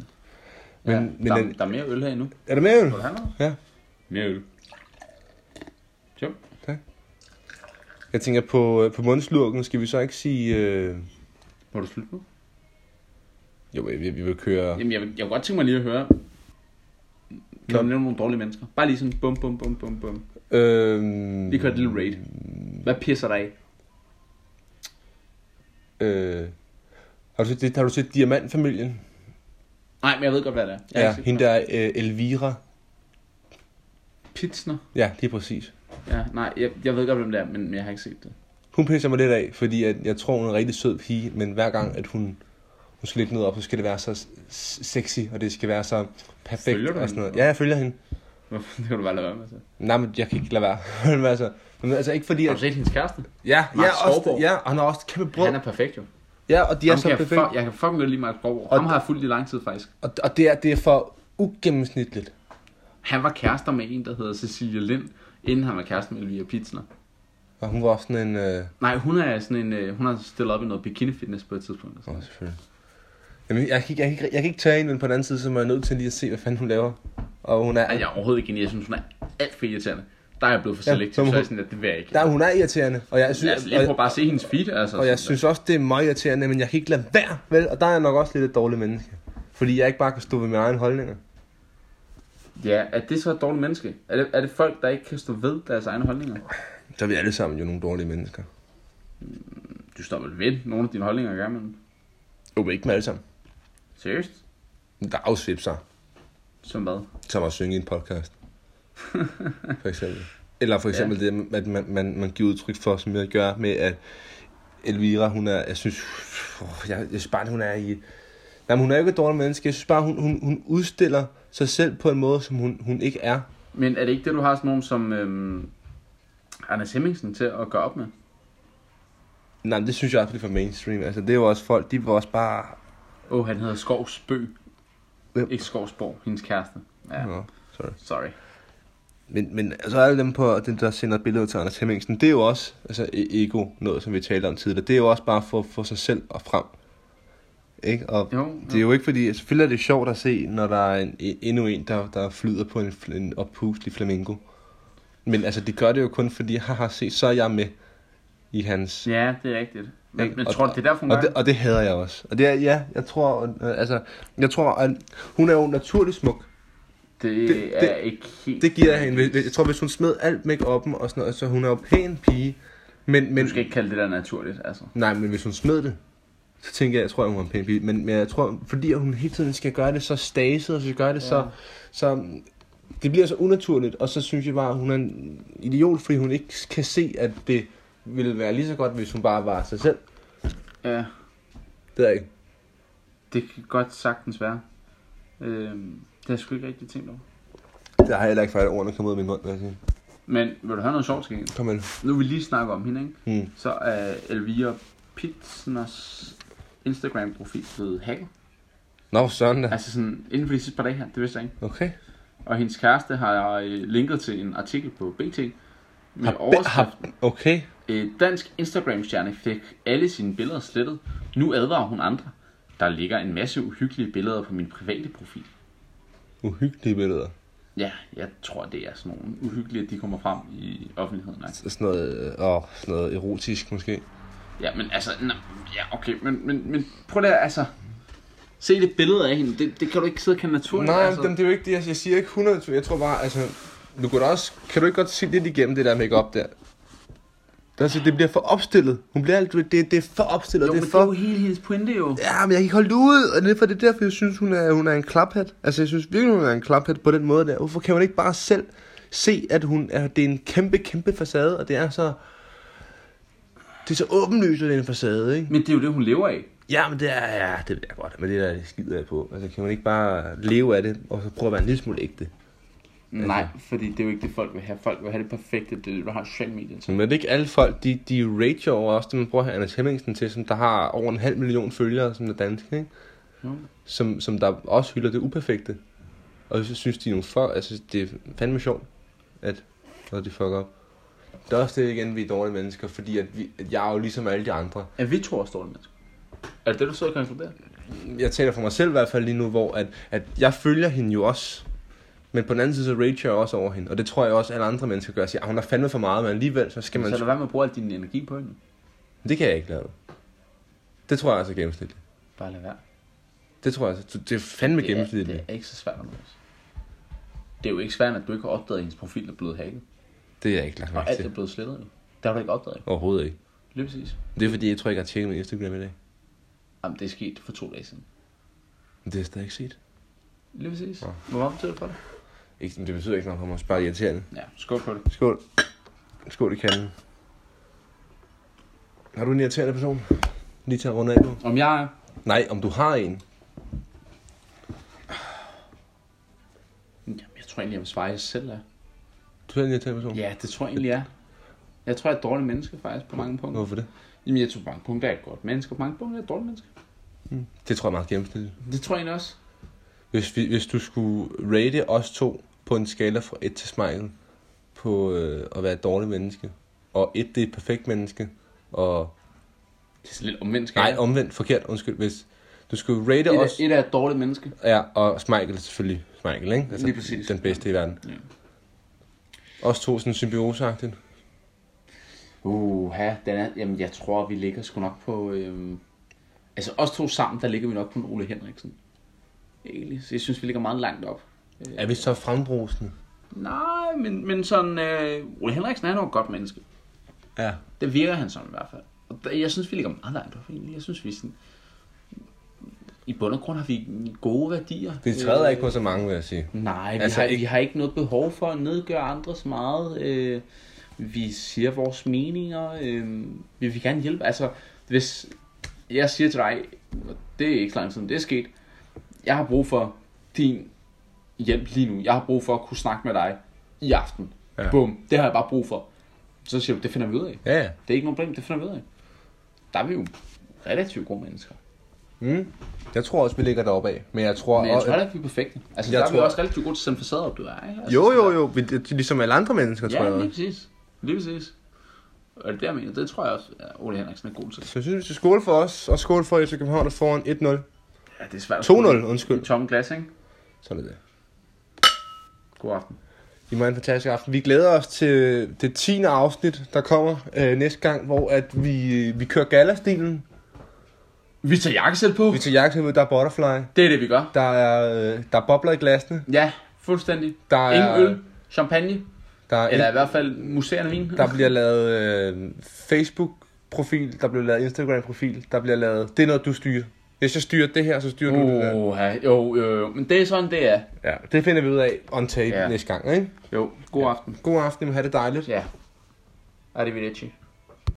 Speaker 2: Men-
Speaker 1: ja,
Speaker 2: men
Speaker 1: der,
Speaker 2: den-
Speaker 1: der, er mere øl her endnu.
Speaker 2: Er du med, Øl?
Speaker 1: Vil du have noget?
Speaker 2: Ja.
Speaker 1: Mere øl. Jo.
Speaker 2: Jeg tænker, på, øh, på mundslurken skal vi så ikke sige... Øh...
Speaker 1: Må du slutte nu?
Speaker 2: Jo, vi, vi vil køre...
Speaker 1: Jamen, jeg, vil- jeg kunne godt tænke mig lige at høre. Kan du
Speaker 2: Nå.
Speaker 1: nævne nogle dårlige mennesker? Bare lige sådan bum, bum, bum, bum, bum.
Speaker 2: Øhm...
Speaker 1: Lige køre et lille raid. Hvad pisser dig af?
Speaker 2: Øh... Har du set, det, har du set Diamantfamilien?
Speaker 1: Nej, men jeg ved godt, hvad det er. Jeg har
Speaker 2: Ja,
Speaker 1: ikke set
Speaker 2: hende
Speaker 1: det.
Speaker 2: der øh, Elvira.
Speaker 1: Pitsner.
Speaker 2: Ja, lige præcis.
Speaker 1: Ja, nej, jeg, jeg ved godt, hvem det er, men jeg har ikke set det.
Speaker 2: Hun pisser mig lidt af, fordi at jeg tror, hun er en rigtig sød pige, men hver gang, at hun, hun skal lægge noget op, så skal det være så s- sexy, og det skal være så perfekt.
Speaker 1: Følger du
Speaker 2: og sådan noget.
Speaker 1: hende?
Speaker 2: Ja, jeg følger hende.
Speaker 1: Det kan du bare lade være med til.
Speaker 2: Nej, men jeg kan ikke lade være. men altså, men altså ikke fordi...
Speaker 1: Har du
Speaker 2: At,
Speaker 1: set hendes kæreste?
Speaker 2: ja,
Speaker 1: Mark
Speaker 2: ja, også,
Speaker 1: Skovgaard?
Speaker 2: ja, og han har også et kæmpe brød.
Speaker 1: Han er perfekt jo.
Speaker 2: Ja, og de er
Speaker 1: Ham
Speaker 2: så
Speaker 1: kan jeg,
Speaker 2: perfekt.
Speaker 1: fuck, jeg kan fucking godt lide Mark Borg.
Speaker 2: Og
Speaker 1: Ham har jeg fulgt i lang tid faktisk.
Speaker 2: Og, og det, er, det er for ugennemsnitligt.
Speaker 1: Han var kærester med en, der hedder Cecilia Lind, inden han var kærester med Elvira Pitsner.
Speaker 2: Og hun var også sådan en... Øh...
Speaker 1: Nej, hun er sådan en, øh, hun har stillet op i noget bikini fitness på et tidspunkt. altså. Og sådan.
Speaker 2: Oh, selvfølgelig. Jamen, jeg, kan, ikke- jeg, kan ikke, jeg kan ikke tage hende, men på den anden side, så er jeg nødt til lige at se, hvad fanden hun laver. Og hun er,
Speaker 1: Ej, jeg er overhovedet ikke enig. Jeg synes, hun er alt for irriterende. Der er jeg blevet for
Speaker 2: Ja,
Speaker 1: selektiv,
Speaker 2: så
Speaker 1: så
Speaker 2: må
Speaker 1: jeg er
Speaker 2: hun-
Speaker 1: sådan, at det vil jeg ikke. Altså,
Speaker 2: der, hun er irriterende, og jeg synes,
Speaker 1: Jeg, jeg prøver
Speaker 2: og,
Speaker 1: bare at se hendes feed, altså.
Speaker 2: og jeg
Speaker 1: sådan
Speaker 2: synes også, det er meget irriterende, men jeg kan ikke lade være, vel? Og der er jeg nok også lidt et dårligt menneske. Fordi jeg ikke bare kan stå ved mine egne holdninger.
Speaker 1: der. Ja, er det så et dårligt menneske? Er det, er det folk, der ikke kan stå ved deres egne holdninger?
Speaker 2: Så er vi alle sammen jo nogle dårlige mennesker.
Speaker 1: Du står vel ved nogle af dine holdninger, gør man?
Speaker 2: Jo, men ikke med alle sammen.
Speaker 1: Seriøst?
Speaker 2: Der afsvipser,
Speaker 1: Som hvad?
Speaker 2: som at synge i en podcast. For eksempel. Eller for eksempel ja. det, at man, man, man giver udtryk for, som jeg gør med, at Elvira, hun er, jeg synes, åh, jeg, jeg synes bare, at hun er i... Nej, men hun er jo ikke et dårligt menneske. Jeg synes bare, hun, hun, hun udstiller sig selv på en måde, som hun, hun ikke er.
Speaker 1: Men er det ikke det, du har sådan nogen som øhm, Anders Hemmingsen til at gøre op med?
Speaker 2: Nej, men det synes jeg også, det er for mainstream. Altså, det er jo også folk, de var også bare...
Speaker 1: Åh, oh, han hedder Skovsbø.
Speaker 2: Hvem?
Speaker 1: Ikke Skovsborg, hendes kæreste. Ja,
Speaker 2: Nå, sorry.
Speaker 1: sorry.
Speaker 2: Men, men altså alle dem på, den der sender billeder til Anders Hemmingsen, det er jo også, altså e- ego, noget som vi talte om tidligere, det er jo også bare for at få sig selv og frem. Ikke? Og
Speaker 1: Jo,
Speaker 2: det er jo ikke fordi, altså, selvfølgelig er det sjovt at se, når der er en, e- endnu en, der, der flyder på en, fl- en oppustelig flamingo. Men altså, det gør det jo kun fordi, haha, se, så er jeg med i hans...
Speaker 1: Ja, det er rigtigt. Men,
Speaker 2: Ikke?
Speaker 1: men
Speaker 2: Og-
Speaker 1: tror du, det er derfor, hun
Speaker 2: Og
Speaker 1: gør
Speaker 2: det,
Speaker 1: det?
Speaker 2: og det hader jeg også. Og det er, ja, jeg tror, øh, altså, jeg tror, at hun er jo naturligt smuk.
Speaker 1: Det,
Speaker 2: det-
Speaker 1: er ikke helt...
Speaker 2: Det giver jeg hende. Hvis- Jeg tror, hvis hun smed alt make-up'en og sådan noget, så hun er jo pæn pige. Men, men,
Speaker 1: Du skal ikke kalde det der naturligt, altså.
Speaker 2: nej, men hvis hun smed det, så tænker jeg, jeg tror, hun er en pæn pige. Men, men jeg tror, fordi hun hele tiden skal gøre det så staset, og skal gøre det ja. så, så... Det bliver så unaturligt, og så synes jeg bare, at hun er en idiot, fordi hun ikke kan se, at det ville være lige så godt, hvis hun bare var sig selv.
Speaker 1: Ja,
Speaker 2: Det ved jeg ikke.
Speaker 1: det kan godt sagtens være. Øhm, det har jeg sgu ikke rigtig tænkt over.
Speaker 2: Det har jeg heller ikke fejlet ordene kommet ud af min mund, vil jeg sige.
Speaker 1: Men vil du høre noget sjovt, Skæg?
Speaker 2: Kom med.
Speaker 1: Nu vil vi lige snakke om hende, ikke?
Speaker 2: Mm.
Speaker 1: Så er Elvira Pitsners Instagram-profil blevet hacket.
Speaker 2: Nå, for søren da.
Speaker 1: Altså sådan, inden for de sidste par dage her, det vidste jeg ikke.
Speaker 2: Okay.
Speaker 1: Og hendes kæreste har øh, linket til en artikel på BT med
Speaker 2: Har, be-
Speaker 1: overskrift,
Speaker 2: har, okay.
Speaker 1: øh, dansk Instagram-stjerne fik alle sine billeder slettet. Nu advarer hun andre. Der ligger en masse uhyggelige billeder på min private profil.
Speaker 2: Uhyggelige billeder.
Speaker 1: Ja, jeg tror, det er sådan nogle uhyggelige, at de kommer frem i offentligheden. Ikke?
Speaker 2: sådan noget, øh, åh, sådan noget erotisk måske.
Speaker 1: Ja, men altså, nå, ja, okay, men, men, men prøv lige at, altså, se det billede af hende, det, det kan du ikke sidde og kalde naturligt.
Speaker 2: Nej,
Speaker 1: altså.
Speaker 2: altså... det er jo ikke det, jeg, jeg siger ikke 100, jeg tror bare, altså, du kan, da også, kan du ikke godt se lidt igennem det der makeup der? Der siger, det bliver for opstillet. Hun bliver alt, det, det er for opstillet,
Speaker 1: jo,
Speaker 2: det
Speaker 1: men
Speaker 2: er
Speaker 1: det er jo
Speaker 2: for...
Speaker 1: hele hendes pointe jo.
Speaker 2: Ja, men jeg kan ikke holde det ud, og det er, for, det er derfor, jeg synes, hun er, hun er en klaphat. Altså, jeg synes virkelig, hun er en klaphat på den måde der. Hvorfor kan man ikke bare selv se, at hun er, det er en kæmpe, kæmpe facade, og det er så... Det er så åbenlyst, at det er en facade, ikke?
Speaker 1: Men det er jo det, hun lever af.
Speaker 2: Ja, men det er, ja, det ved jeg godt, men det der det skider jeg på. Altså, kan man ikke bare leve af det, og så prøve at være en lille smule ægte?
Speaker 1: Nej, Altså, fordi det er jo ikke det, folk vil have. Folk vil have det perfekte, det er det, du har social media til.
Speaker 2: Men er det ikke alle folk, de, de rager over også, det man prøver at have Anders Hemmingsen til, som der har over en halv million følgere, som er dansk, ikke?
Speaker 1: Jo.
Speaker 2: Som, som der også hylder det uperfekte. Og så synes de er nogle for, altså det er fandme sjovt, at når de fucker op. Det er også det igen, vi er dårlige mennesker, fordi at, vi, at jeg er jo ligesom alle de andre.
Speaker 1: Er vi to store mennesker? Er det det, du sidder og konkluderer?
Speaker 2: jeg taler for mig selv i hvert fald lige nu, hvor at, at jeg følger hende jo også. Men på den anden side, så rager jeg også over hende. Og det tror jeg også, alle andre mennesker gør. Jeg siger, "Ah, hun har fandme for meget, men alligevel, så skal man...
Speaker 1: Så lad være med at bruge al din energi på hende.
Speaker 2: Det kan jeg ikke lave. Det tror jeg altså er gennemsnitligt.
Speaker 1: Bare lad være.
Speaker 2: Det tror jeg altså. Det er fandme
Speaker 1: Det er,
Speaker 2: gennemsnitligt.
Speaker 1: det er ikke så svært nu. Det er jo ikke svært, at du ikke har opdaget, at hendes profil er blevet hacket.
Speaker 2: Det er jeg ikke lagt
Speaker 1: Og
Speaker 2: mærke
Speaker 1: alt er
Speaker 2: til.
Speaker 1: blevet slettet. jo. Det har du ikke opdaget. jo.
Speaker 2: Overhovedet ikke.
Speaker 1: Lige præcis.
Speaker 2: Det er fordi, jeg tror ikke, jeg har tjekket min Instagram i dag.
Speaker 1: Jamen, det er sket for to dage siden.
Speaker 2: Men det har jeg stadig ikke set.
Speaker 1: Lige præcis. Hvor meget betyder det for dig?
Speaker 2: Ikke, men det betyder ikke noget for mig. Det er bare irriterende.
Speaker 1: Ja, skål på det.
Speaker 2: Skål. Skål i kanden. Har du en irriterende person? Lige til at runde af nu.
Speaker 1: Om jeg er...
Speaker 2: Nej, om du har en.
Speaker 1: Jamen, jeg tror egentlig, jeg vil svare, at jeg selv er.
Speaker 2: Du er en irriterende person.
Speaker 1: Ja, det tror jeg egentlig, jeg er. Jeg tror, jeg er et dårligt menneske faktisk på mange punkter.
Speaker 2: Hvorfor det?
Speaker 1: Jamen, jeg tror, på mange punkter er jeg et godt menneske, og på mange punkter er jeg et dårligt menneske.
Speaker 2: Det tror jeg er meget gennemsnitligt.
Speaker 1: Det tror jeg egentlig også.
Speaker 2: Hvis, vi, hvis du skulle rate os to på en skala fra 1 til smile på øh, at være et dårligt menneske, og 1 det er et perfekt menneske, og
Speaker 1: Det er sådan lidt omvendt skal
Speaker 2: nej, omvendt forkert, undskyld, hvis du skulle rate
Speaker 1: et,
Speaker 2: os,
Speaker 1: er, et er et dårligt menneske.
Speaker 2: ja, og Michael er selvfølgelig Michael, ikke? Altså,
Speaker 1: Lige præcis.
Speaker 2: Den bedste i verden.
Speaker 1: Ja.
Speaker 2: Os to sådan symbioseagtigt.
Speaker 1: Uha, den er, jamen jeg tror, vi ligger sgu nok på... Øhm, altså os to sammen, der ligger vi nok på en Ole Henriksen. Egentlig. Så jeg synes, vi ligger meget langt op. Øh,
Speaker 2: Er vi så frembrusende?
Speaker 1: Nej, men, men sådan... Øh, Ole Henriksen er nok et godt menneske.
Speaker 2: Ja.
Speaker 1: Det virker han sådan i hvert fald. Og der, jeg synes, vi ligger meget langt op egentlig. Jeg synes, vi er sådan... I bund og grund har vi gode værdier.
Speaker 2: Vi træder ikke på så mange, vil jeg sige.
Speaker 1: Nej, vi,
Speaker 2: Altså,
Speaker 1: altså, har,
Speaker 2: ikke-
Speaker 1: ikke... vi har ikke noget behov for at nedgøre andre så meget. Øh, vi siger vores meninger. Øh, vi vil gerne hjælpe. Altså, hvis jeg siger til dig, og det er ikke så lang tid, siden det er sket, jeg har brug for din hjælp lige nu. Jeg har brug for at kunne snakke med dig i aften.
Speaker 2: Ja.
Speaker 1: Ja. Bum, det har jeg bare brug for. Så siger du, det finder vi ud af.
Speaker 2: Ja, ja.
Speaker 1: Det er ikke noget problem, det finder vi ud af. Der er vi jo relativt gode mennesker.
Speaker 2: Mm. Jeg tror også, vi ligger deroppe af. Men jeg tror...
Speaker 1: Men jeg
Speaker 2: og-
Speaker 1: tror heller ikke, vi er perfekte. Altså,
Speaker 2: Jeg
Speaker 1: jeg der tror... er
Speaker 2: tror-
Speaker 1: vi også relativt gode til at sende facader op, du er. Ikke? Altså,
Speaker 2: jo,
Speaker 1: sådan
Speaker 2: jo,
Speaker 1: der-
Speaker 2: jo. Vi- det- det er Ligesom alle andre mennesker, tror jeg.
Speaker 1: Ja, lige
Speaker 2: også.
Speaker 1: præcis. Lige præcis. Og det er det, jeg mener. Det tror jeg også, at Ole Henriksen er god til.
Speaker 2: Så jeg synes, vi skal skåle for os, og skåle for FC København, der foran 1-0.
Speaker 1: Ja, det er svært.
Speaker 2: 2-0, undskyld.
Speaker 1: Tom Glas, ikke?
Speaker 2: Sådan er det.
Speaker 1: God aften.
Speaker 2: I må have en fantastisk aften. Vi glæder os til det 10. afsnit, der kommer øh, næste gang, hvor at vi, øh, vi kører galastilen.
Speaker 1: Vi tager jakkesæt på.
Speaker 2: Vi tager jakkesæt med, der er butterfly.
Speaker 1: Det er det, vi gør.
Speaker 2: Der er, øh, der er bobler i glasene.
Speaker 1: Ja, fuldstændig.
Speaker 2: Der er,
Speaker 1: Ingen øl, champagne,
Speaker 2: Der, er,
Speaker 1: eller i hvert fald museerne vin.
Speaker 2: der bliver lavet øh, Facebook-profil, der bliver lavet Instagram-profil, der bliver lavet... Det er noget, du styrer. Hvis jeg styrer det her, så styrer du det der.
Speaker 1: Oh, jo, jo, jo, men det er sådan, det er.
Speaker 2: Ja, det finder vi ud af on tape
Speaker 1: Ja.
Speaker 2: næste gang, ikke?
Speaker 1: Jo, god aften.
Speaker 2: God aften, have det dejligt.
Speaker 1: Ja. Arrivederci.